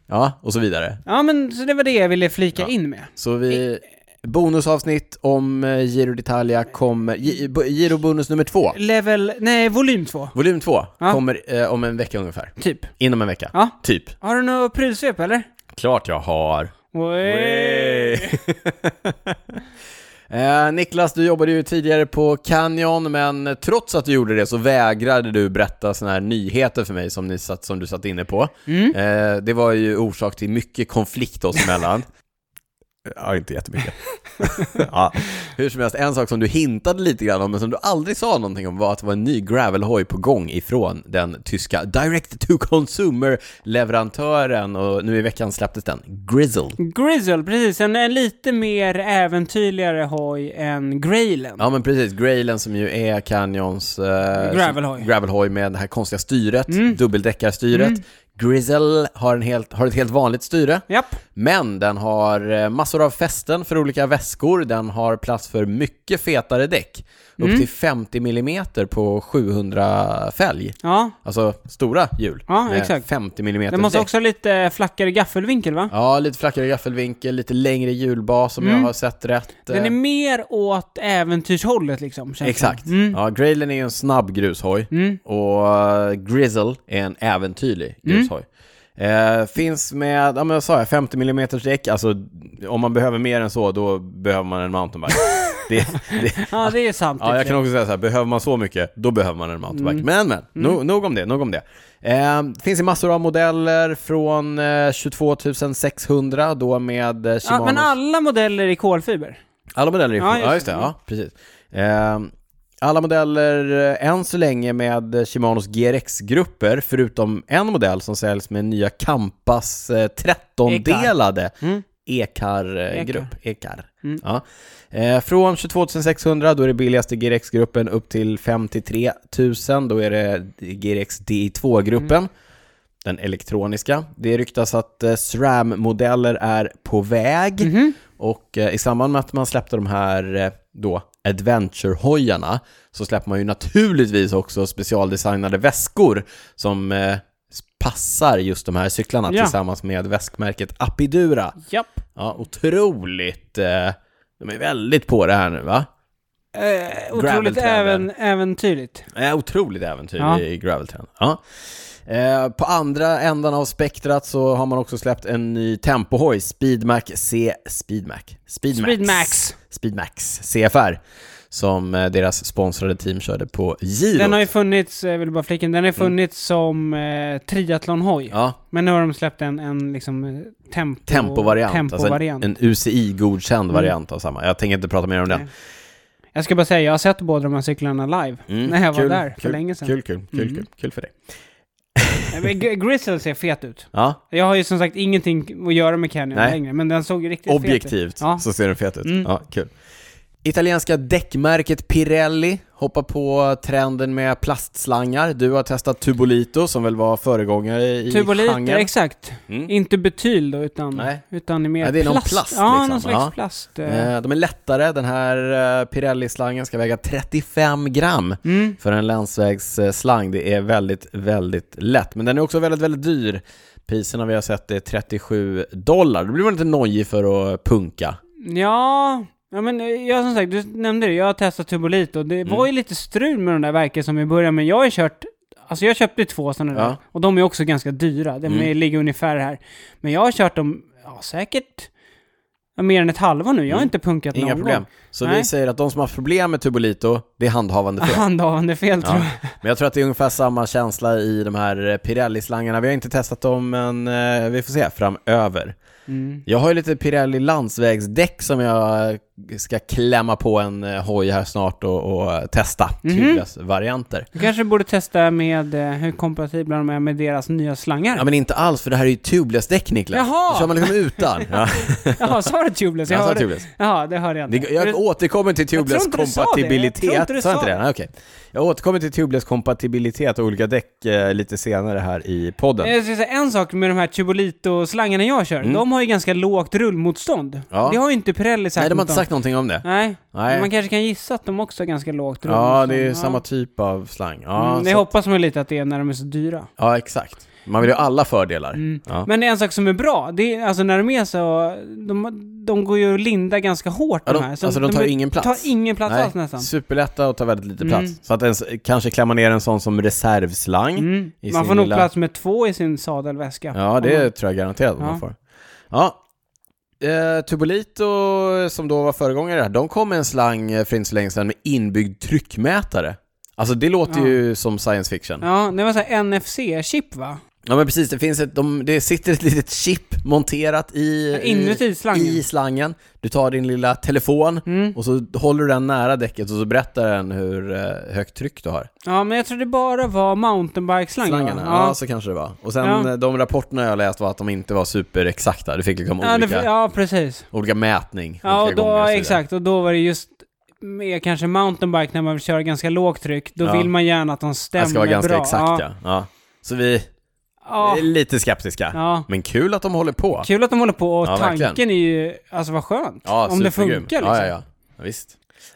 ja, och så vidare. Ja men så det var det jag ville flika in med. Så Eh. vi, bonusavsnitt om eh, Giro d'Italia kommer, gi- bo- girobonus nummer 2, Level, nej volym två, volym 2, Ja. kommer eh, om en vecka ungefär. typ. Inom en vecka. Ja. Typ. Har du något prylsvep eller? Klart jag har. Eh, Niklas, du jobbade ju tidigare på Canyon, men trots att du gjorde det så vägrade du berätta såna här nyheter för mig som, ni satt, som du satt inne på. Eh, det var ju orsak till mycket konflikt oss emellan. ja, inte jättemycket. ja. Hur som helst, en sak som du hintade lite grann om, men som du aldrig sa någonting om, var att det var en ny gravelhoj på gång ifrån den tyska direct to consumer-leverantören, och nu i veckan släpptes den, Grizzle. Grizzle, precis. En, en lite mer äventyrligare hoj än Grailen. Ja men precis, Grailen som ju är Canyons eh, Gravelhoj. Mm. gravelhoj med det här konstiga styret, dubbeldäckarstyret. Grizzle har, en helt, har ett helt vanligt styre, Japp. men den har eh, massor av fästen för olika väskor, den har plats för mycket fetare däck. Upp till 50 mm på 700 fälg. Ja. Alltså stora hjul Ja, med exakt. 50 mm Den måste däck. också ha lite flackare gaffelvinkel va? Ja, lite flackare gaffelvinkel, lite längre hjulbas om jag har sett rätt. Mm. Den är Eh, mer åt äventyrshållet liksom. känns det. Exakt. Ja, Grailen är ju en snabb grushoj Mm. och eh, Grizzle är en äventyrlig grushoj. Eh, finns med, ja men jag sa jag, 50 mm däck, alltså om man behöver mer än så då behöver man en mountainbike. det, det, Ja, det är sant. ja, jag kan egentligen. också säga så här, behöver man så mycket, då behöver man en Mm. mountainbike. Men men, no, nog om det, nog om det. Eh, finns i massor av modeller från eh, 22 600 då med eh, ja, Shimano. men alla modeller är kolfiber. Alla modeller är Ja, just ja, just det. Ja, precis. Ehm, alla modeller eh, än så länge med eh, Shimanos GRX-grupper, förutom en modell som säljs med nya Campas eh, 13-delade Ekar-grupp. Ekar. Ja. Eh, från 22 600, då är det billigaste GRX-gruppen, upp till 53 000, då är det GRX DI2-gruppen. Den elektroniska. Det ryktas att eh, SRAM-modeller är på väg. Och eh, i samband med att man släppte de här eh, då adventure-hojarna så släpper man ju naturligtvis också specialdesignade väskor som eh, passar just de här cyklarna Ja. tillsammans med väskmärket Apidura. Japp. Ja, otroligt eh, De är väldigt på det här nu va? Eh, otroligt även, Graveltrenden. äventyrligt. Eh, otroligt äventyr Ja. i Graveltown. Ja. Eh, på andra ändan av spektrat så har man också släppt en ny tempohoj, Speedmac C... Speedmac? Speedmax. Speedmax. Speedmax CFR. Som eh, deras sponsrade team körde på Giro. Den har ju funnits, eh, vill jag bara flika in, den har ju funnits som eh, triathlonhoj. Mm. Ja, Men nu har de släppt en, en liksom eh, tempo, tempovariant. tempovariant. Mm. Alltså en, en UCI-godkänd variant av samma. Jag tänker inte prata mer om den. Jag ska bara säga, jag har sett båda de här cyklarna live. Mm, När jag var kul, där för kul, länge sedan. Mm. Kul, kul, kul, kul, kul för dig. Eh, men Gr- Grizzle ser fet ut. Ja, Jag har ju som sagt ingenting att göra med Canyon Nej. längre, men den såg ju riktigt fet ut. objektivt Ja. så ser den fet ut. Mm. Ja, kul. Italienska däckmärket Pirelli hoppar på trenden med plastslangar. Du har testat Tubolito som väl var föregångare i Tubolit, genren. exakt. Mm. Inte betyl då, utan, Nej. utan är mer Nej, det är någon plast. plast, ja, liksom. någon slags Ja. plast. eh. Eh, De är lättare. Den här eh, Pirelli-slangen ska väga 35 gram Mm. för en landsvägsslang. Det är väldigt, väldigt lätt. Men den är också väldigt, väldigt dyr. Priserna vi har sett är 37 dollar. Då blir man lite nojig för att punka. Ja, ja men eh, jag som sagt, du nämnde det, jag har testat Tubolit och det Mm. var ju lite strul med de där verken som i början, men jag har ju kört Alltså jag köpte två sådana där, Ja. och de är också ganska dyra. De Mm. är ligger ungefär här. Men jag har kört dem, ja säkert, ja, mer än ett halvår nu. Jag har inte punkat Mm. Inga någon problem. gång. Så vi Nej. säger att de som har problem med Tubolito, det är handhavande fel. Handhavande fel tror Ja. jag. Men jag tror att det är ungefär samma känsla i de här eh, Pirelli-slangarna. Vi har inte testat dem, men eh, vi får se framöver. Mm. Jag har ju lite Pirelli landsvägsdäck som jag eh, ska klämma på en eh, hoj här snart och, och eh, testa. Mhm. mm varianter. Du kanske borde testa med eh, hur kompatibla de är med deras nya slangar. Ja men inte alls, för det här är ju tubeless-däck Niklas. Jaha! Då kör man liksom utan. Ja, Jaha, sa du tubeless? jag sa hörde- tubeless. Jaha, det hörde jag Det, inte. jag Du- återkommer till tror inte du sa det. Jag tubeless-kompatibilitet. tror inte du Sa jag sa inte det? det. Nej, okej. Jag återkommer till tubeless-kompatibilitet och olika däck eh, lite senare här i podden. Jag ska säga en sak med de här Tubolito-slangarna jag kör. De har ju ganska lågt rullmotstånd. Mm. Ja. Det har ju inte Pirelli sagt Nej, de har något inte om. sagt någonting om det. Nej. Nej. Men man kanske kan gissa att de också har ganska lågt rullmotstånd. Ja, det är samma typ av slang. Ja, Mm, det så- hoppas man ju lite att det är när de är så dyra. ja exakt. Man vill ju ha alla fördelar. Ja. Mm. Men en sak som är bra, det är alltså när de är så... De, de går ju att linda ganska hårt Ja, de, de här. Så alltså de tar är- ingen plats. Tar ingen plats Nej, alls nästan. Superlätta och tar väldigt lite Mm. plats. Så att ens, kanske klämma ner en sån som reservslang. Mm. i Man sin får nog lilla- plats med två i sin sadelväska. Ja, det Om man- tror jag garanterat att man Ja. får. Ja. Eh, Tubolito, som då var föregångare här, de kom med en slang eh, för inte så länge sedan med inbyggd tryckmätare. Alltså det låter Ja. ju som science fiction. Ja, det var så här NFC-chip va? Ja men precis, det finns ett, de, det sitter ett litet chip monterat i, Inuti slangen. i slangen. Du tar din lilla telefon Mm. och så håller du den nära däcket och så berättar den hur eh, högt tryck du har. Ja, men jag tror det bara var mountainbike-slangarna. Slangarna, va? ja. så kanske det var. Och sen Ja. eh, de rapporterna jag läst var att de inte var superexakta. Du fick liksom Ja, olika, det, ja precis. olika mätning. Ja, och olika då, gånger och så vidare. exakt. Och då var det just med kanske mountainbike när man vill köra ganska lågt tryck. Då Ja. vill man gärna att de stämmer Det ska vara ganska bra. exakt ja. Ja. Så vi Ja. är lite skeptiska. Ja. Men kul att de håller på. Kul att de håller på och Ja, tanken verkligen. är ju, alltså vad skönt. Ja, om det funkar supergrym. liksom. Ja, ja, ja. ja visst.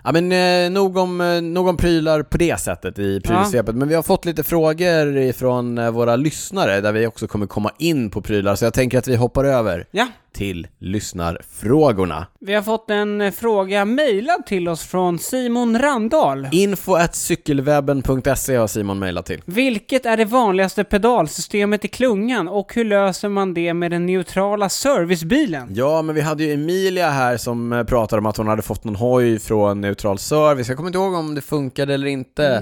Ja, men eh, nog, om, eh, nog om prylar på det sättet i prylsvepet. Men vi har fått lite frågor ifrån eh, våra lyssnare där vi också kommer komma in på prylar. Så jag tänker att vi hoppar över Ja. till lyssnarfrågorna. Vi har fått en eh, fråga mejlad till oss från Simon Randahl. Info at cykelwebben.se har Simon mejlat till. Vilket är det vanligaste pedalsystemet i klungan och hur löser man det med den neutrala servicebilen? Ja, men vi hade ju Emilia här som eh, pratade om att hon hade fått någon hoj från Neutral Service. Jag kommer inte ihåg om det funkade eller inte.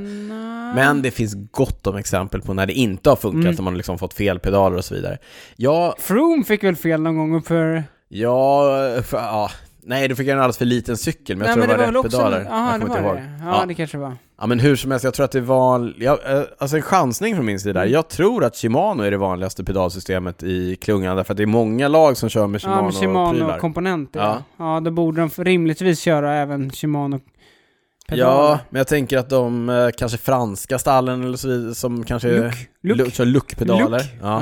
Men det finns gott om exempel på när det inte har funkat, Mm. när man har liksom fått fel pedaler och så vidare. Ja, Froome fick väl fel någon gång för... ja, för, ja. Nej, då fick jag en alldeles för liten cykel, men jag tror det var, rätt pedaler. Aha, jag det kommer var inte ihåg. det. Ja, Ja. det kanske var. ja, men hur som helst, jag tror att det var... Ja, eh, alltså en chansning från min sida. Mm. Jag tror att Shimano är det vanligaste pedalsystemet i klungan, därför att det är många lag som kör med ja, men Shimano-prylar. Shimano-komponenter. Ja. Ja. ja, då borde de f- rimligtvis köra även Shimano. Ja, men jag tänker att de eh, kanske franska stallen eller så vidare, som kanske Look, look, lu- kör luckpedaler. Look. Ja.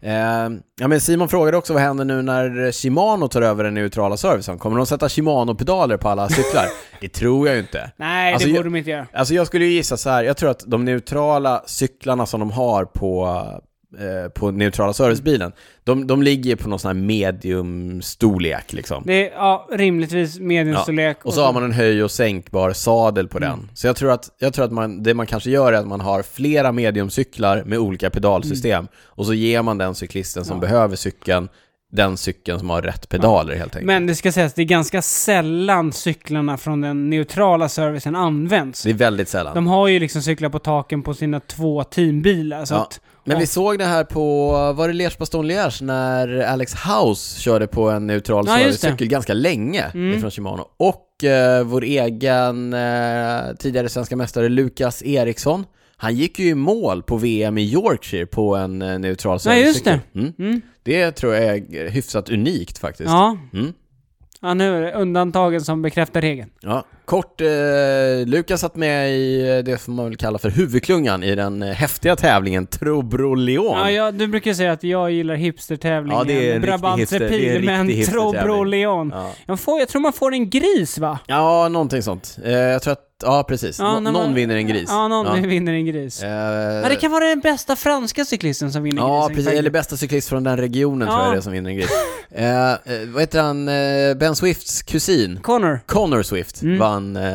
Ja. Eh, ja, men Simon frågade också vad händer nu när Shimano tar över den neutrala servicen? Kommer de sätta Shimano-pedaler på alla cyklar? det tror jag ju inte. Nej, Alltså, det jag- borde de inte göra. Alltså jag skulle ju gissa så här, jag tror att de neutrala cyklarna som de har på eh, på neutrala servicebilen, de, de ligger på någon sån här mediumstorlek liksom. Det är ja, rimligtvis mediumstorlek. Och så Mm. har man en höj och sänkbar sadel på den. Så jag tror att, jag tror att man, det man kanske gör är att man har flera mediumcyklar med olika pedalsystem. Och så ger man den cyklisten som behöver cykeln, den cykeln som har rätt pedaler helt enkelt. Men det ska sägas, det är ganska sällan cyklarna från den neutrala servicen används. det är väldigt sällan. De har ju liksom cyklar på taken på sina två teambilar. Så Ja. att, Men vi såg det här på, var det Liège Bastogne Liège när Alex House körde på en neutral Ja, just det. Mm. servicecykel ganska länge ifrån Shimano. Och eh, vår egen eh, tidigare svenska mästare Lukas Eriksson, han gick ju i mål på VM i Yorkshire på en eh, neutral Ja, just servicecykel. det. Mm. Mm. Det tror jag är hyfsat unikt faktiskt. ja. Mm. ja, nu är det undantagen som bekräftar regeln. Ja, kort, eh, Lukas satt med i eh, det som man väl kallar för huvudklungan i den eh, häftiga tävlingen Trobro Leon. Ja, jag, du brukar säga att jag gillar hipstertävlingen. Ja, det är en riktig Brabantse hipster- det är en pil med en riktig Trobro hipstertävling. Leon. Ja. Jag, får, jag tror man får en gris va? Ja, någonting sånt. Eh, jag tror att, ja precis. Ja, Nå- när någon man- vinner en gris. Ja, någon ja. vinner en gris. Eh, Ja, det kan vara den bästa franska cyklisten som vinner ja grisen. precis. faktiskt. Eller bästa cyklist från den regionen Ja. tror jag det är som vinner en gris. eh, eh, vad heter han? Eh, ben Swifts kusin, Connor. Connor Swift, Mm. vann eh,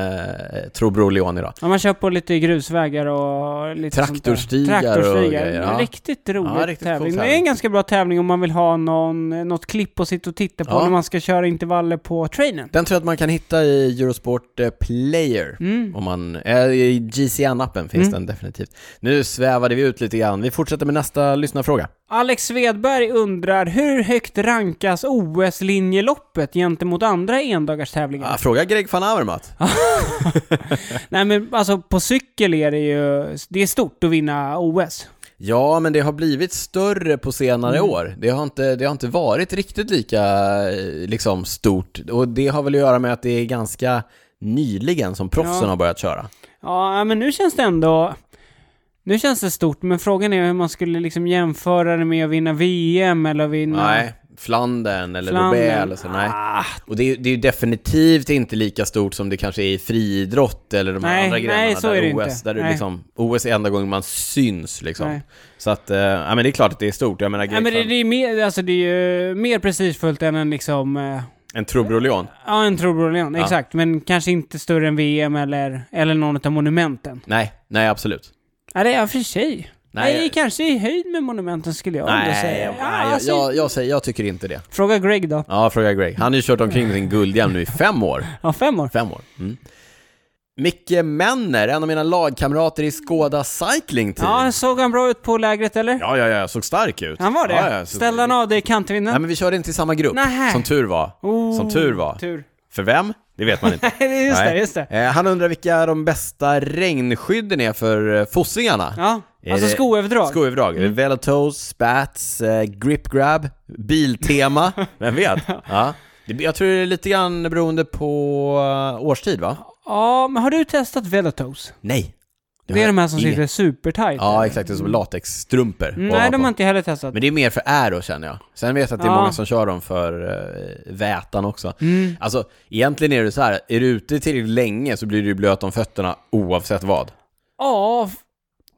Trobro Leon idag. Ja, man kör på lite grusvägar och lite Traktorstigar sånt där. och grejer, ja. Riktigt rolig Ja, riktigt cool tävling. Det är tävling. en ganska bra tävling om man vill ha någon, något klipp att sitta och titta på Ja. när man ska köra intervaller på trainen. Den tror jag att man kan hitta i Eurosport eh, Player. Mm. Om man, eh, I GCN-appen finns den definitivt. Nu svävade vi ut lite grann. Vi fortsätter med nästa lyssnarfråga. Alex Svedberg undrar hur högt rankas OS-linjeloppet gentemot andra endagarstävlingar? Ah, fråga Greg van Avermaet. Nej men alltså på cykel är det ju, det är stort att vinna OS. Ja, men det har blivit större på senare Mm. år. Det har, inte, det har inte varit riktigt lika eh, liksom, stort. Och det har väl att göra med att det är ganska nyligen som proffsen Ja. har börjat köra. Ja, men nu känns det ändå... Nu känns det stort, men frågan är hur man skulle liksom jämföra det med att vinna VM eller vinna... Nej, Flandern eller Mm. Flandern. Ah. Roubaix eller så, nej. Och det är, ju- det är ju definitivt inte lika stort som det kanske är i friidrott eller de här Nej, andra nej, grenarna så där är det OS, inte. där du Nej. liksom, OS är enda gången man syns liksom. Nej. Så att, eh, ja men det är klart att det är stort. Jag menar, Nej, Greg men det, van- det, är mer, alltså, det är ju mer prestigefullt än en liksom... eh, en Trubro Leon. Ja, en Trobro Leon, Ja. exakt. Men kanske inte större än VM eller, eller någon av monumenten. Nej, nej absolut. Ja, det är jag för sig. Nej, Nej, jag- kanske i höjd med monumenten skulle jag ändå Nej, säga. jag, Ja, nej jag, alltså, jag, jag, säger, jag tycker inte det. Fråga Greg då. Ja, fråga Greg. Han har ju kört omkring med sin guldhjälm nu i fem år. Ja, fem år. Fem år. Mm. Micke Männer, en av mina lagkamrater i Skoda Cycling Team. Ja, såg han bra ut på lägret eller? Ja, ja, ja, jag såg stark ut. Han var det? Ja, ja, så- Ställde han av dig i kantvinden? Nej, men vi körde inte i samma grupp. Nähä. Som tur var. Som tur var. Tur. För vem? Det vet man inte. just Nej. det, just det. Eh, han undrar vilka de bästa regnskydden är för eh, fossingarna. Ja, Är alltså det- skoöverdrag. Skoöverdrag. Mm. Velotoes, spats, eh, grip grab, biltema. Vem vet? Ja. Det- Jag tror det är lite grann beroende på eh, årstid va? Ja, men har du testat Velotoes? Nej. Det är de här som Inget. sitter supertight. Mm, Ja, exakt. Det är som latexstrumpor. Nej, ovanpå. de har inte heller testat. Men det är mer för aero känner jag. Sen vet jag att det är Ja. Mm. många som kör dem för eh, vätan också. Alltså, egentligen är det så här, är du ute tillräckligt länge så blir du ju blöt om fötterna oavsett vad. Ja, f-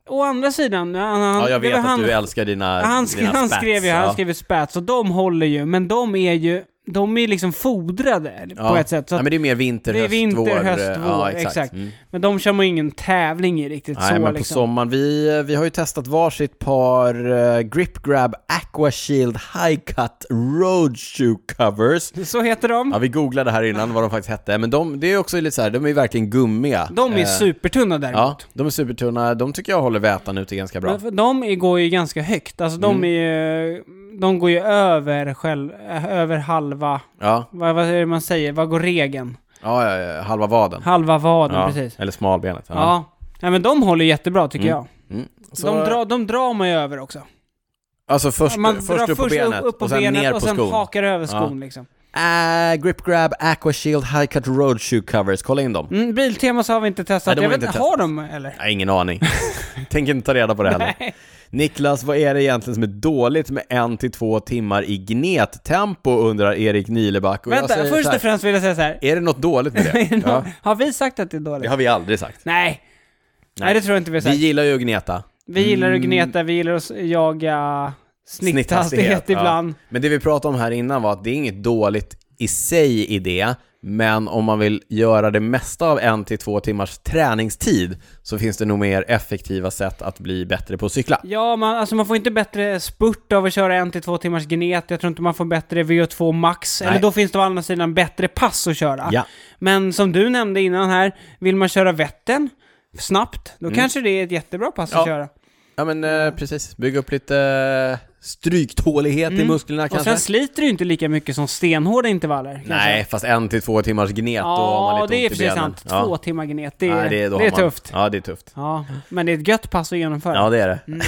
å andra sidan. Han, han- Ja, jag det vet var att han, du älskar dina han, skrev, dina han spats. skrev ju, han Ja. skrev ju spats och de håller ju, men de är ju, de är liksom fodrade på Ja. ett sätt. Så ja, att men det är mer vinter, det är höst, vinter, vår. höst, eh, vår. Ja, exakt. Mm. Men de kör man ju ingen tävling i riktigt Nej, så men på liksom. sommaren. Vi, vi har ju testat varsitt par eh, Grip Grab Aqua Shield High Cut Road Shoe Covers. Så heter de. Ja, vi googlade här innan vad de faktiskt hette, men de, det är också lite så här, de är ju verkligen gummiga. De är Eh, supertunna däremot. Ja, de är supertunna. De tycker jag håller vätan ute ganska bra. Mm. Men för De är- går ju ganska högt, alltså de är ju, de går ju över själv, eh, över halva, Ja, vad, vad är det man säger, vad går regeln? ja, ja, ja halva vaden. Halva vaden, ja, precis. Eller smalbenet. Ja. Nej men de håller jättebra tycker jag. Mm. Så, De, dra, de drar man ju över också. alltså först, Man först drar upp på först benet upp, upp på och sen benet ner på och sen skon. hakar över Ja. skon liksom. Äh, grip Grab Aqua Shield High Cut Road Shoe Covers, kolla in dem. Mm, Biltema så har vi inte Nej, testat. de jag har vet inte inte, har de eller? Nej, ingen aning. Tänker inte ta reda på det heller. Nej. Niklas, vad är det egentligen som är dåligt med en till två timmar i gnettempo undrar Erik Nileback. Och jag Vänta, säger så först här, och främst vill jag säga så här. Är det något dåligt med det? ja, Har vi sagt att det är dåligt? det har vi aldrig sagt. Nej. Nej. det tror jag inte vi har Vi Mm. sagt. gillar ju att gneta. Vi gillar att gneta, vi gillar att jaga snitthastighet ibland. Ja. Men det vi pratade om här innan var att det är inget dåligt i sig i det, men om man vill göra det mesta av en till två timmars träningstid så finns det nog mer effektiva sätt att bli bättre på att cykla. Ja, man, alltså man får inte bättre spurt av att köra en till två timmars gnet. Jag tror inte man får bättre VO2 max. Nej. Eller då finns det å andra sidan bättre pass att köra. Ja. Men som du nämnde innan här, vill man köra Vättern snabbt, då kanske det är ett jättebra pass Mm. Ja. att köra. Ja men eh, precis, bygga upp lite eh, stryktålighet i musklerna Mm. Och kanske. sen sliter du inte lika mycket som stenhårda intervaller. kanske. Nej, fast en till två timmars gnet då har man Ja, lite det är ont i precis benen. sant. Två timmar gnet, det, Ja. Nej, det, det, då är har man... tufft. Ja, det är tufft. Ja, men det är ett gött pass att genomföra. Ja, det är det. Mm.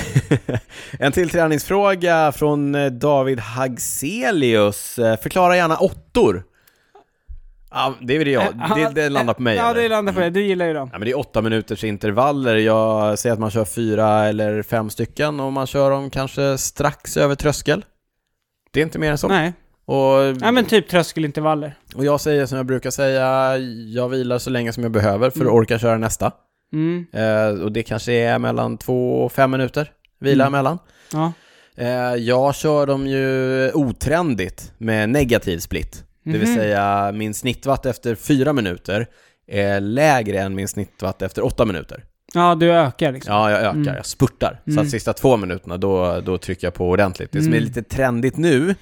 en till träningsfråga från eh, David Hagselius. Eh, Förklara gärna åttor. Ja, det är väl jag. Det, det landar på mig. Eh, Ja, eller? Mm. det landar på dig. Du gillar ju dem. Ja, men det är åtta minuters intervaller. Jag säger att man kör fyra eller fem stycken och man kör dem kanske strax över tröskel. Det är inte mer än så. Nej. Och, Nej, men typ tröskelintervaller. och jag säger som jag brukar säga, jag vilar så länge som jag behöver för att orka köra nästa. Mm. Eh, och det kanske är mellan två och fem minuter vila Mm. emellan. Ja. Eh, jag kör dem ju otrendigt med negativ split. Det vill Mhm. säga min snittwatt efter fyra minuter är lägre än min snittwatt efter åtta minuter. ja, du ökar liksom. Ja, jag ökar, Mm. jag spurtar. Så Mm. att sista två minuterna, då, då trycker jag på ordentligt. Det som är Mm. lite trendigt nu, Det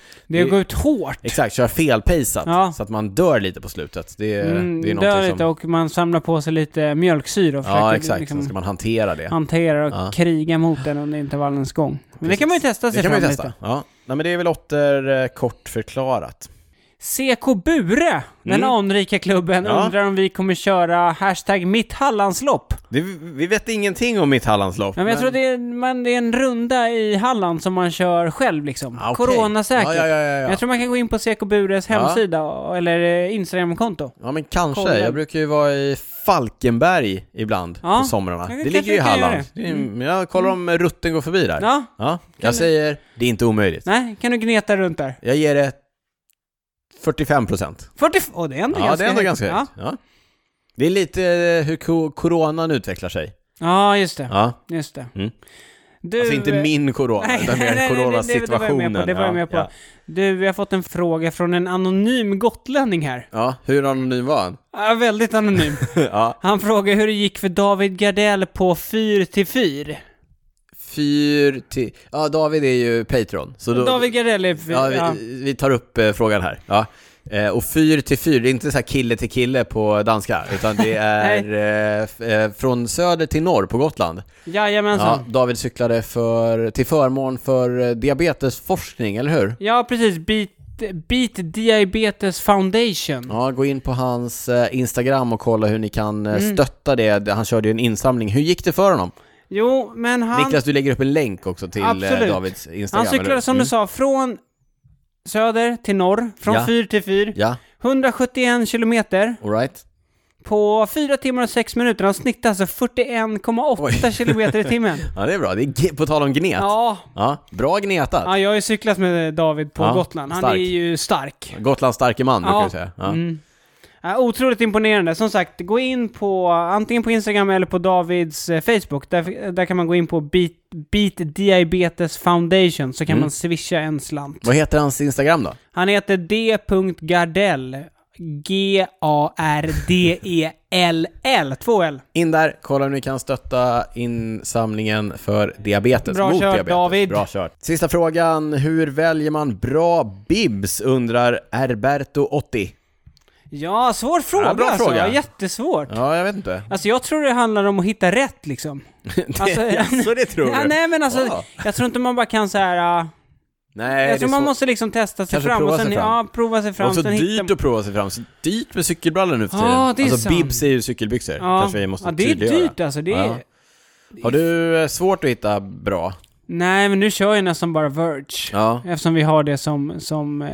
Det- går ut hårt. exakt, köra felpejsat Ja. så att man dör lite på slutet. Det, är- Mm, det är dör någonting lite som... och man samlar på sig lite mjölksyra och försöker Ja, exakt. liksom Sen ska man hantera det. hantera och Ja. kriga mot den under intervallens gång. Men det kan man ju testa sig Det kan man fram ju testa. lite. Ja. Nej, men det är väl åter eh, kort förklarat. CK Bure, den Mm. anrika klubben, Ja. undrar om vi kommer köra hashtag mitt Hallandslopp. Det, vi vet ingenting om mitt Hallandslopp. Ja, men jag tror det är, men det är en runda i Halland som man kör själv liksom. Ah, okej. Coronasäkert. Ja, ja, ja, ja, ja. Jag tror man kan gå in på CK Bures Ja. hemsida eller eh, Instagramkonto. Ja men kanske, Kollen. jag brukar ju vara i Falkenberg ibland Ja. på somrarna. Jag Det kan- ligger ju i kan göra Halland. det. Det är- men Jag kollar om rutten går förbi där. Ja, Ja, jag säger, det är inte omöjligt. nej, kan du gneta runt där? Jag ger det 45 procent. 40... Åh, det är ändå Ja, ganska det är ändå högt. ganska Ja. högt. Ja. Det är lite eh, hur ko- coronan utvecklar sig. ja, just det. Ja. Just det. Mm. Du, Alltså inte min corona, nej, utan nej, nej, mer det- det- det var jag med på, coronasituationen. det var jag Ja, med på. Ja. du, vi har fått en fråga från en anonym gotlänning här. ja, hur anonym var han? Ja, väldigt anonym. ja. Han frågar hur det gick för David Gardell på 4 till 4. Fyr till... Ja, David är ju Patreon. Så då, David Gardell är... Ja, Ja, vi, vi tar upp eh, frågan här. Ja. Eh, och fyr till fyr, det är inte så här kille till kille på danska, utan det är eh, f- eh, från söder till norr på Gotland. Ja, Jajamensan. David cyklade för, till förmån för eh, diabetesforskning, eller hur? Ja, precis. Beat, Beat Diabetes Foundation. Ja, gå in på hans eh, Instagram och kolla hur ni kan eh, Mm. stötta det. Han körde ju en insamling. Hur gick det för honom? Jo, men han... Niklas, du lägger upp en länk också till eh, Absolut. Davids Instagram. han cyklade, eller? Mm. som du sa, från söder till norr. Från Ja. fyr till fyr. Ja, 171 kilometer all right. på 4 timmar och 6 minuter. Han snittade alltså 41,8 kilometer i timmen. Ja, det är bra. Det är, g- på tal om gnet. Ja. Ja. bra gnetat. ja, jag har ju cyklat med David på Ja, Gotland. Han stark. är ju stark. Gotlands starke man, brukar Ja. vi säga. Ja. Mm. Ja, otroligt imponerande. Som sagt, gå in på antingen på Instagram eller på Davids eh, Facebook. Där, där kan man gå in på Beat, Beat Diabetes Foundation så kan Mm. man swisha en slant. Vad heter hans Instagram då? Han heter d.gardell. G-A-R-D-E-L-L. Två E L. In där, kolla om ni kan stötta insamlingen för diabetes. Bra mot kört, diabetes. David. Bra kört. Sista frågan, hur väljer man bra bibs? Undrar Herberto80. Ja, svår fråga, Ja, bra alltså. fråga. Jättesvårt. Ja, jag vet inte. Alltså jag tror det handlar om att hitta rätt liksom. Alltså, Jaså, det tror ja, du? nej men alltså, Ja. jag tror inte man bara kan så här. äh, Nej, jag det är tror man svårt. måste liksom testa sig Kanske fram prova och sen sig fram. Ja, prova sig fram. och så sen dyrt hitta... att prova sig fram, så dyrt med cykelbrallor nu för Ja, tiden. det är alltså sant. bibs är ju cykelbyxor, ja. kanske vi måste ja, det är tydliggöra. dyrt alltså. Det är... Ja. Har du eh, svårt att hitta bra? Nej men nu kör jag nästan bara Verge. Ja, Eftersom vi har det som, som eh,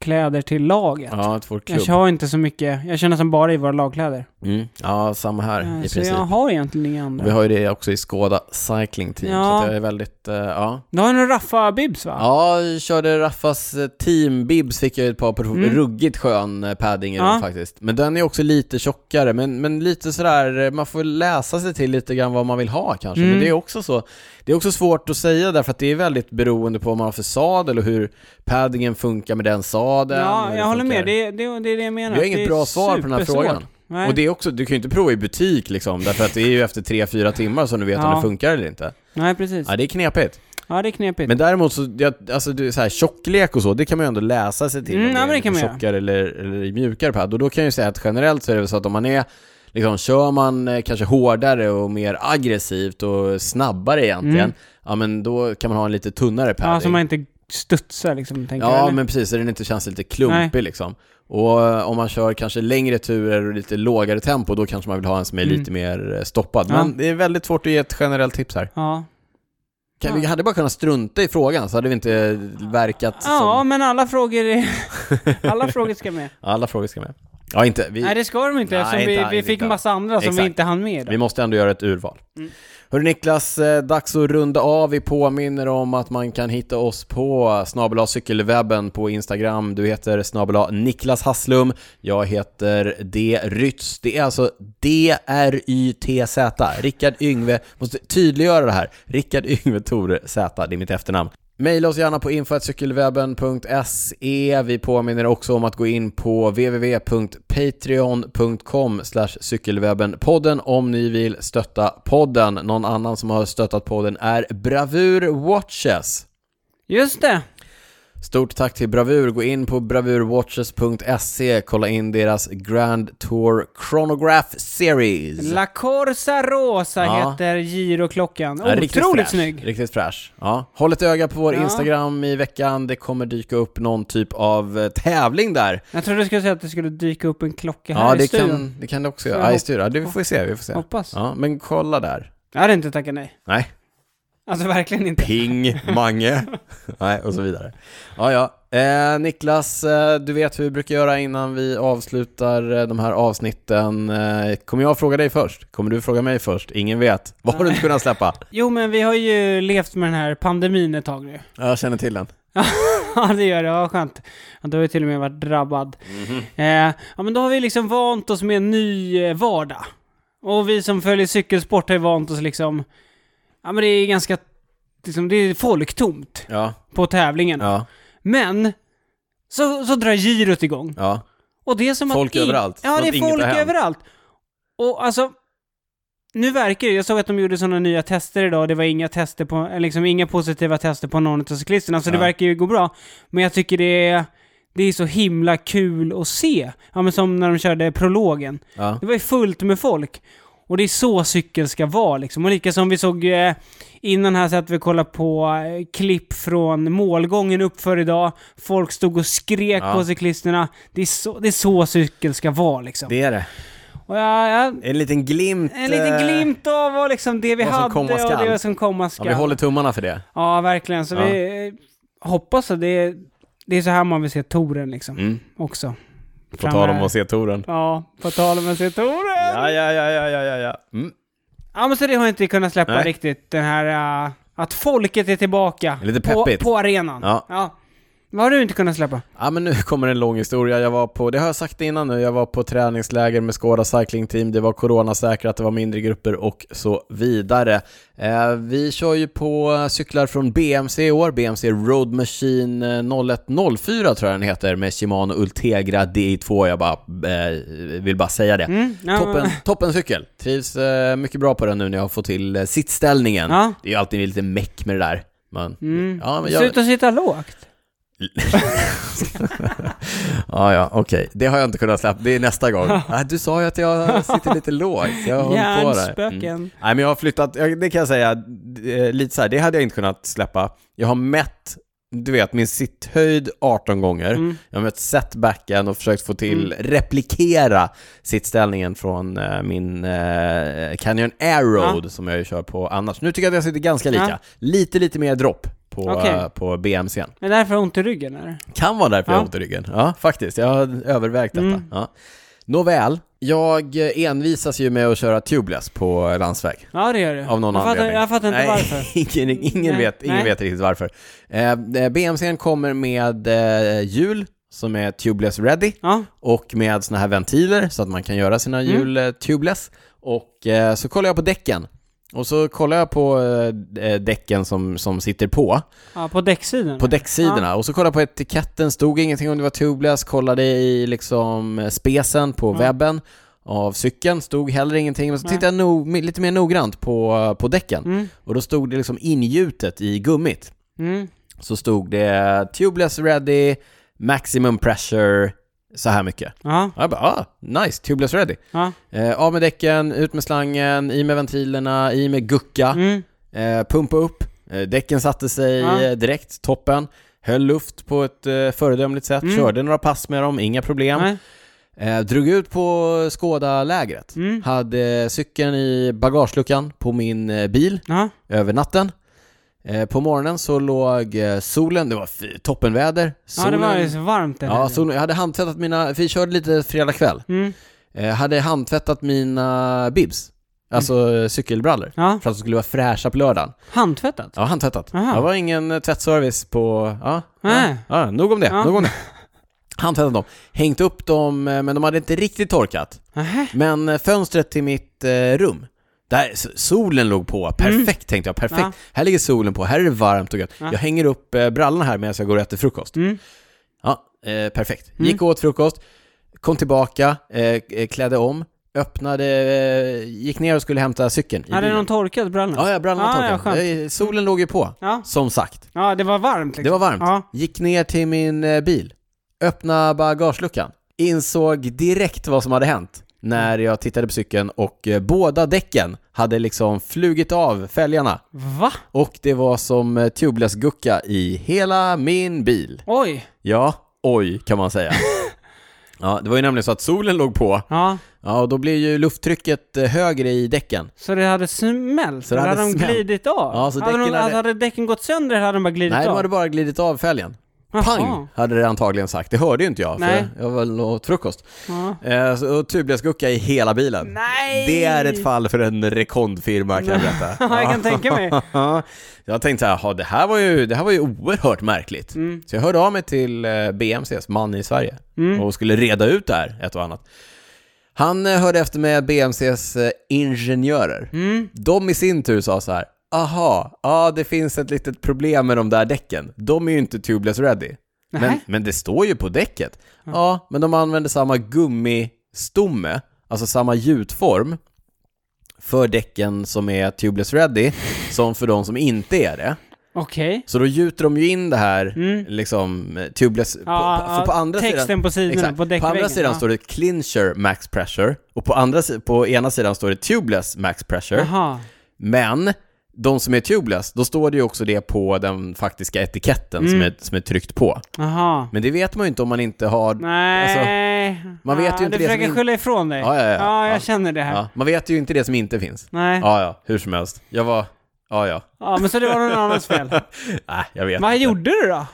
kläder till laget. ja ett vår klubb. jag kör inte så mycket, jag kör nästan bara i våra lagkläder. Mm. Ja, samma här Eh, i Så princip. jag har egentligen inga andra. Vi har ju det också i Skoda Cycling Team, Ja. så att jag är väldigt, eh, ja. Du har en Raffa-bibs va? Ja, jag körde Raffas eh, Team Bibs fick jag ett par prov, Mm. ruggigt skön eh, padding i Ja. den faktiskt. Men den är också lite tjockare, men, men lite sådär, eh, man får läsa sig till lite grann vad man vill ha kanske. Mm. Men det är också så, det är också svårt att säga därför att det är väldigt beroende på vad man har för sadel och hur paddingen funkar med den sadeln. hur Ja, det jag håller funkar. med. Det, det, det är det jag menar. Vi har Det inget är bra svar på den här supersvårt. frågan. Nej. Och det är också, du kan ju inte prova i butik liksom, därför att det är ju efter 3-4 timmar som du vet om Ja. det funkar eller inte. Nej, precis. Ja, det är knepigt. Ja, det är knepigt. Men däremot så, jag, alltså du, så här, tjocklek och så, det kan man ju ändå läsa sig till Mm, ja, om men det det är kan man göra. tjockare eller, eller mjukare pad. Och då kan jag ju säga att generellt så är det väl så att om man är, liksom kör man eh, kanske hårdare och mer aggressivt och snabbare egentligen, Mm. ja men då kan man ha en lite tunnare padding. ja, så man inte studsar liksom, tänker jag. Ja, eller? men precis, så den inte känns lite klumpig liksom. Och eh, om man kör kanske längre turer och lite lågare tempo, då kanske man vill ha en som är Mm. lite mer eh, stoppad. Ja. Men det är väldigt svårt att ge ett generellt tips här. Ja, Kan, Ja. Vi hade bara kunnat strunta i frågan, så hade vi inte verkat ja som... men alla frågor är... alla frågor ska med. Alla frågor ska med. Ja, inte. Vi, Nej, det ska de inte Nej, eftersom inte- vi, vi inte fick en alls. massa andra som vi Exakt. inte hann med vi idag. måste ändå göra ett urval. Mm. Hörru Niklas, eh, dags att runda av. Vi påminner om att man kan hitta oss på snabel cykelwebben på Instagram. Du heter snabel Niklas Hasslum. Jag heter D. Rytz. Det är alltså D-R-Y-T-Z. Rickard Yngve, måste tydliggöra det här. Rickard Yngve Tore Z, det är mitt efternamn. Maila oss gärna på info.cykelwebben.se. Vi påminner också om att gå in på www.patreon.com cykelwebbenpodden om ni vill stötta podden. Någon annan som har stöttat podden är Bravur Watches. Just det! Stort tack till Bravur. Gå in på bravurwatches.se, kolla in deras Grand Tour Chronograph Series. La Corsa Rosa Ja. heter giroklockan. Ja, riktigt Otroligt fräsch. snygg! Riktigt fräsch. Ja. Håll ett öga på vår Ja. Instagram i veckan. Det kommer dyka upp någon typ av eh, tävling där. Jag trodde du skulle säga att det skulle dyka upp en klocka här Ja, i det studion. kan, det kan det också göra. jag Ja, i hop- studion. Ja, det vi får vi se. Vi får se. Hoppas. Ja, men kolla där. Jag hade inte tackat nej. Nej. Alltså verkligen inte. Ping, Mange. Nej, och så vidare. Ja, ja. Eh, Niklas, eh, du vet hur vi brukar göra innan vi avslutar eh, de här avsnitten. Eh, kommer jag fråga dig först? Kommer du fråga mig först? Ingen vet. Vad har du inte kunnat släppa? Jo, men vi har ju levt med den här pandemin ett tag nu. Ja, Jag känner till den. Ja, det gör det. Ja, skönt. Ja, då har jag till och med varit drabbad. Eh, ja, men då har vi liksom vant oss med en ny eh, vardag. Och vi som följer cykelsport har ju vant oss liksom... Ja, men det är ganska... Liksom, det är folktomt Ja, på tävlingarna. ja, Men... Så, så drar girot igång. ja. Och det är som Folk att in- överallt. Ja, Som det att är inget folk har hänt. överallt. Och alltså, nu verkar det, jag såg att de gjorde sådana nya tester idag och det var inga tester på, eller liksom inga positiva tester på någon av cyklisterna, så det Ja. verkar ju gå bra. Men jag tycker det är, det är så himla kul att se. Ja men som när de körde prologen. ja. Det var ju fullt med folk. Och det är så cykeln ska vara liksom. Och lika som vi såg eh, innan här så att vi kollade på eh, klipp från målgången uppför idag. Folk stod och skrek Ja. på cyklisterna. Det är, så, det är så cykeln ska vara liksom. Det är det. Och ja, ja, En liten glimt. en liten eh, glimt av vad liksom det vi vad som hade komma och skall. det som komma Ja, skall. vi håller tummarna för det. Ja, verkligen. Så Ja. vi eh, hoppas att det är, det är så här man vill se touren liksom. Mm. Också. På Fram tal om här. att se touren. Ja, på tal om att se touren. Ja, ja, ja, ja, ja, ja, ja. Mm. Ja men så det har jag inte kunnat släppa Nej. riktigt, den här äh, att folket är tillbaka Lite på, peppigt. på arenan. Ja. Vad har du inte kunnat släppa? Ja men nu kommer en lång historia. Jag var på, det har jag sagt innan nu, jag var på träningsläger med Skåda Cycling Team, det var coronasäkrat, det var mindre grupper och så vidare. Eh, vi kör ju på eh, cyklar från BMC i år, BMC Road Machine eh, 0104 tror jag den heter, med Shimano Ultegra DI2. Jag bara, eh, vill bara säga det. Mm, ja, Toppen, men- toppen cykel. Trivs eh, mycket bra på den nu när jag har fått till eh, sittställningen. Ja. Det är ju alltid lite meck med det där. Men, Mm. ja, men jag, Sluta sitta lågt. Ja, ja, okej. Det har jag inte kunnat släppa. Det är nästa gång. Nej, du sa ju att jag sitter lite lågt. Jag har hållit på där. Mm. Hjärnspöken. Nej, men jag har flyttat. jag- Det kan jag säga, eh, lite så här, det hade jag inte kunnat släppa. Jag har mätt, du vet, min sitthöjd 18 gånger. Mm. Jag har mött setbacken och försökt få till, replikera sittställningen från eh, min eh, Canyon Air Road som jag ju kör på annars. Nu tycker jag att jag sitter ganska lika. Ja. Lite, lite mer dropp på, Okej. eh, på BMCn. Men därför har jag ont i ryggen eller? Kan vara därför jag Ja. har ont i ryggen. Ja, faktiskt. Jag har övervägt detta. Mm. Ja. Nåväl, jag envisas ju med att köra tubeless på landsväg. Ja, det gör det. Av någon jag fattar, anledning. Jag fattar inte Nej, varför. ingen ingen, Nej, vet, ingen nej. vet riktigt varför. Eh, BMCn kommer med eh, hjul som är tubeless ready Ja, och med såna här ventiler så att man kan göra Mm. sina hjul eh, tubeless. Och eh, så kollar jag på däcken. Och så kollar jag på eh, däcken som, som sitter på, ja på däcksidan. på däcksidorna. Och så kollar jag på etiketten, stod ingenting om det var tubeless, kollade i liksom spesen på Ja. webben av cykeln, stod heller ingenting. Men så Nej. tittade jag nog, lite mer noggrant på, eh, på däcken. Mm, Och då stod det liksom ingjutet i gummit. mm. Så stod det tubeless ready, maximum pressure, så här mycket. Ja, Och jag bara, ah, nice, tubeless ready. ja. Eh, av med däcken, ut med slangen, i med ventilerna, i med gucka, Mm. eh, pumpa upp. Eh, däcken satte sig Ja. eh, direkt, toppen. Höll luft på ett eh, föredömligt sätt, Mm. körde några pass med dem, inga problem. Nej. Eh, drog ut på Skåda-lägret. Mm. Hade cykeln i bagageluckan på min eh, bil Ja, över natten. Eh, på morgonen så låg eh, solen, det var f- toppenväder. ja, Solen, det var ju så varmt den ja, helgen. solen, jag hade handtvättat mina, för vi körde lite fredag kväll. Mm. Eh, hade handtvättat mina bibs, alltså Mm. eh, cykelbrallor. Ja, För att de skulle vara fräscha på lördagen. handtvättat. Ja, handtvättat. Aha. Det var ingen eh, tvättservice på, ja, ja, Nej. ja nog om det, Ja. nog om det. Handtvättat dem, hängt upp dem, eh, men de hade inte riktigt torkat. Nähä. Men eh, fönstret till mitt eh, rum, där s- solen låg på, perfekt tänkte jag, perfekt. Mm. Ja. Här ligger solen på, här är det varmt och gött. Ja. Jag hänger upp eh, brallorna här medan jag går och äter frukost. Mm. Ja, eh, perfekt. Gick och åt frukost, kom tillbaka, eh, eh, klädde om, öppnade, eh, gick ner och skulle hämta cykeln. i Hade bilen. någon torkat brallorna? Ja, ja, brallorna Ah, ja, torkade. skönt. Eh, solen låg ju på, Ja. som sagt. ja, det var varmt liksom. Det var varmt. Ja. Gick ner till min eh, bil, öppna bagageluckan, insåg direkt vad som hade hänt när jag tittade på cykeln och eh, båda däcken hade liksom flugit av fälgarna liksom. Va? och det var som eh, tubeless-gucka i hela min bil. Oj! Ja, oj kan man säga. Ja, det var ju nämligen så att solen låg på, Ja, ja, och då blir ju lufttrycket eh, högre i däcken. så det hade smält? Så det eller hade hade de smält. glidit av? Ja, så hade, de, däcken hade- hade... hade däcken gått sönder eller hade de bara glidit Nej, av? de hade bara glidit av fälgen. Pang, Jaha. hade det antagligen sagt. Det hörde ju inte jag, för Nej. jag var och åt frukost. Ja. Eh, så- och tubeless-gucka i hela bilen. Nej! Det är ett fall för en rekondfirma kan jag berätta. Ja, jag kan tänka mig. Ja, jag tänkte så här, "Jaha, det här var ju, det här var ju oerhört märkligt. Mm. Så jag hörde av mig till eh, BMCs man i Sverige och skulle reda ut det här, ett och annat. Han eh, hörde efter med BMCs eh, ingenjörer. Mm. De i sin tur sa så här, aha, ja det finns ett litet problem med de där däcken. De är ju inte tubeless ready. Men, Nähä. men det står ju på däcket. Ja, men de använder samma gummistomme, alltså samma gjutform för däcken som är tubeless ready som för de som inte är det. Okej. Så då gjuter de ju in det här Mm. liksom eh, tubeless, Ja, på, på, ja, för på andra texten sidan på sidorna, Exakt. på på däckväggen, andra sidan ja. står det clincher max pressure och på, andra, si- på ena sidan står det tubeless max pressure. Jaha. Men de som är tubeless, då står det ju också det på den faktiska etiketten som, Mm. är, som är tryckt på. Jaha. Men det vet man ju inte om man inte har... Nej. Alltså, man vet ju inte ja, Du det som försöker in- skylla ifrån dig. Ja, ja, ja. jag Ja. känner det här. Ja, man vet ju inte det som inte finns. Nej. Ja. Ja, ja, hur som helst. Jag var... Ja, ja. men så det var någon annans fel. Nej, jag vet Vad inte. gjorde du då?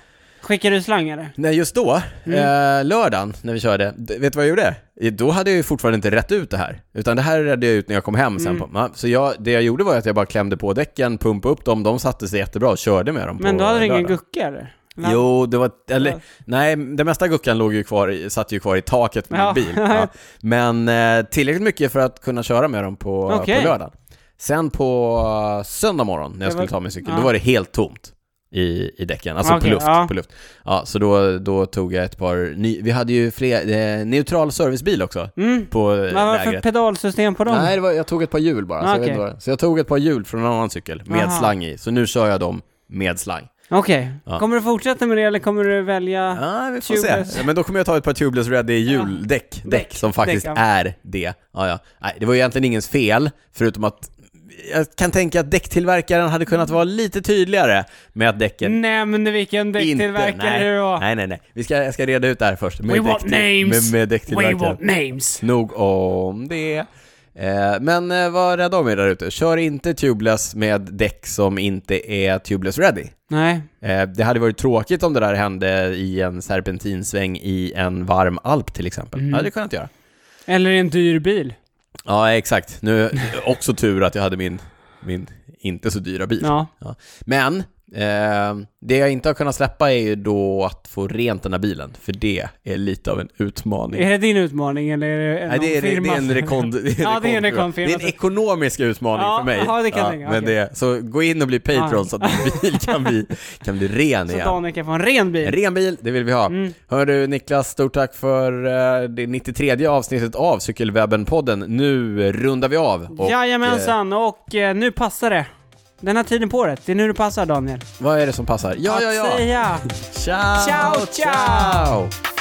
Skickade du slangare? Nej, just då, Mm. eh, lördagen när vi körde, d- vet du vad jag gjorde? Eh, Då hade jag ju fortfarande inte rätt ut det här, utan det här redde jag ut när jag kom hem Mm. sen. På, Ja, så jag, det jag gjorde var att jag bara klämde på däcken, pumpade upp dem, de satte sig jättebra och körde med dem Men på då hade du ingen lördagen. gucka eller? Jo, det var, eller, Ja. nej, det mesta guckan låg ju kvar, i- satt ju kvar i taket på Ja. min bil. Ja. Men eh, tillräckligt mycket för att kunna köra med dem på, Okej. på lördagen. Sen på eh, söndag morgon när jag Det var- skulle ta min cykel, ja. då var det helt tomt i, i däcken, alltså Okej, på luft. ja. På luft. Ja, så då, då tog jag ett par, ny, vi hade ju fler, eh, neutral servicebil också Mm. på eh, Vad var det för lägret. pedalsystem på dem? Nej, det var, jag tog ett par hjul bara. Så, jag Okej. vet inte vad det- så jag tog ett par hjul från en annan cykel med Aha. slang i, så nu kör jag dem med slang. Okej. Ja. Kommer du fortsätta med det eller kommer du välja? Ja, vi får Tubeless. se. Ja, Men då kommer jag ta ett par tubeless ready juldäck, däck Däck. som faktiskt Däck, ja. är det. Ja, ja. Nej, det var ju egentligen ingens fel, förutom att jag kan tänka att däcktillverkaren hade kunnat vara lite tydligare med att däcken Nämn vilken inte... Mm, däcktillverkare nej, det var. nej, nej, nej. Vi ska, jag ska reda ut det här först. Med We want däcktill- names. Med, med We däcktillverkaren. want names. Nog om det. Eh, Men eh, var rädda om er där ute. Kör inte tubeless med däck som inte är tubeless ready. Nej. Eh, Det hade varit tråkigt om det Mm. där hände i en serpentinsväng i en varm alp till exempel. Det hade det kunnat göra. Eller i en dyr bil. Ja, exakt. Nu, också tur att jag hade min, min inte så dyra bil. Ja. Ja. Men eh, det jag inte har kunnat släppa är ju då att få rent den här bilen, för det är lite av en utmaning. Är det din utmaning eller är det en Nej, det, är, det, är en rekond, det, är Ja, det är rekondfirma. det är en en rekondfirma. ekonomisk utmaning Ja, för mig. ja, det kan jag tänka mig. men Okej. det, så gå in och bli Patreon Ja. så att min bil kan bli, kan bli ren Så igen. Daniel kan få en ren En bil. ren bil, det vill vi ha. Mm. Hör du Niklas, stort tack för eh, det 93 avsnittet av Cykelwebben-podden. Nu rundar vi av. Och, eh, Jajamensan, och eh, nu passar det. Den här tiden på året, det är nu eh, det passar Daniel. vad är det som passar? Ja, Att ja, ja! säga. Ciao, Ciao, ciao. ciao.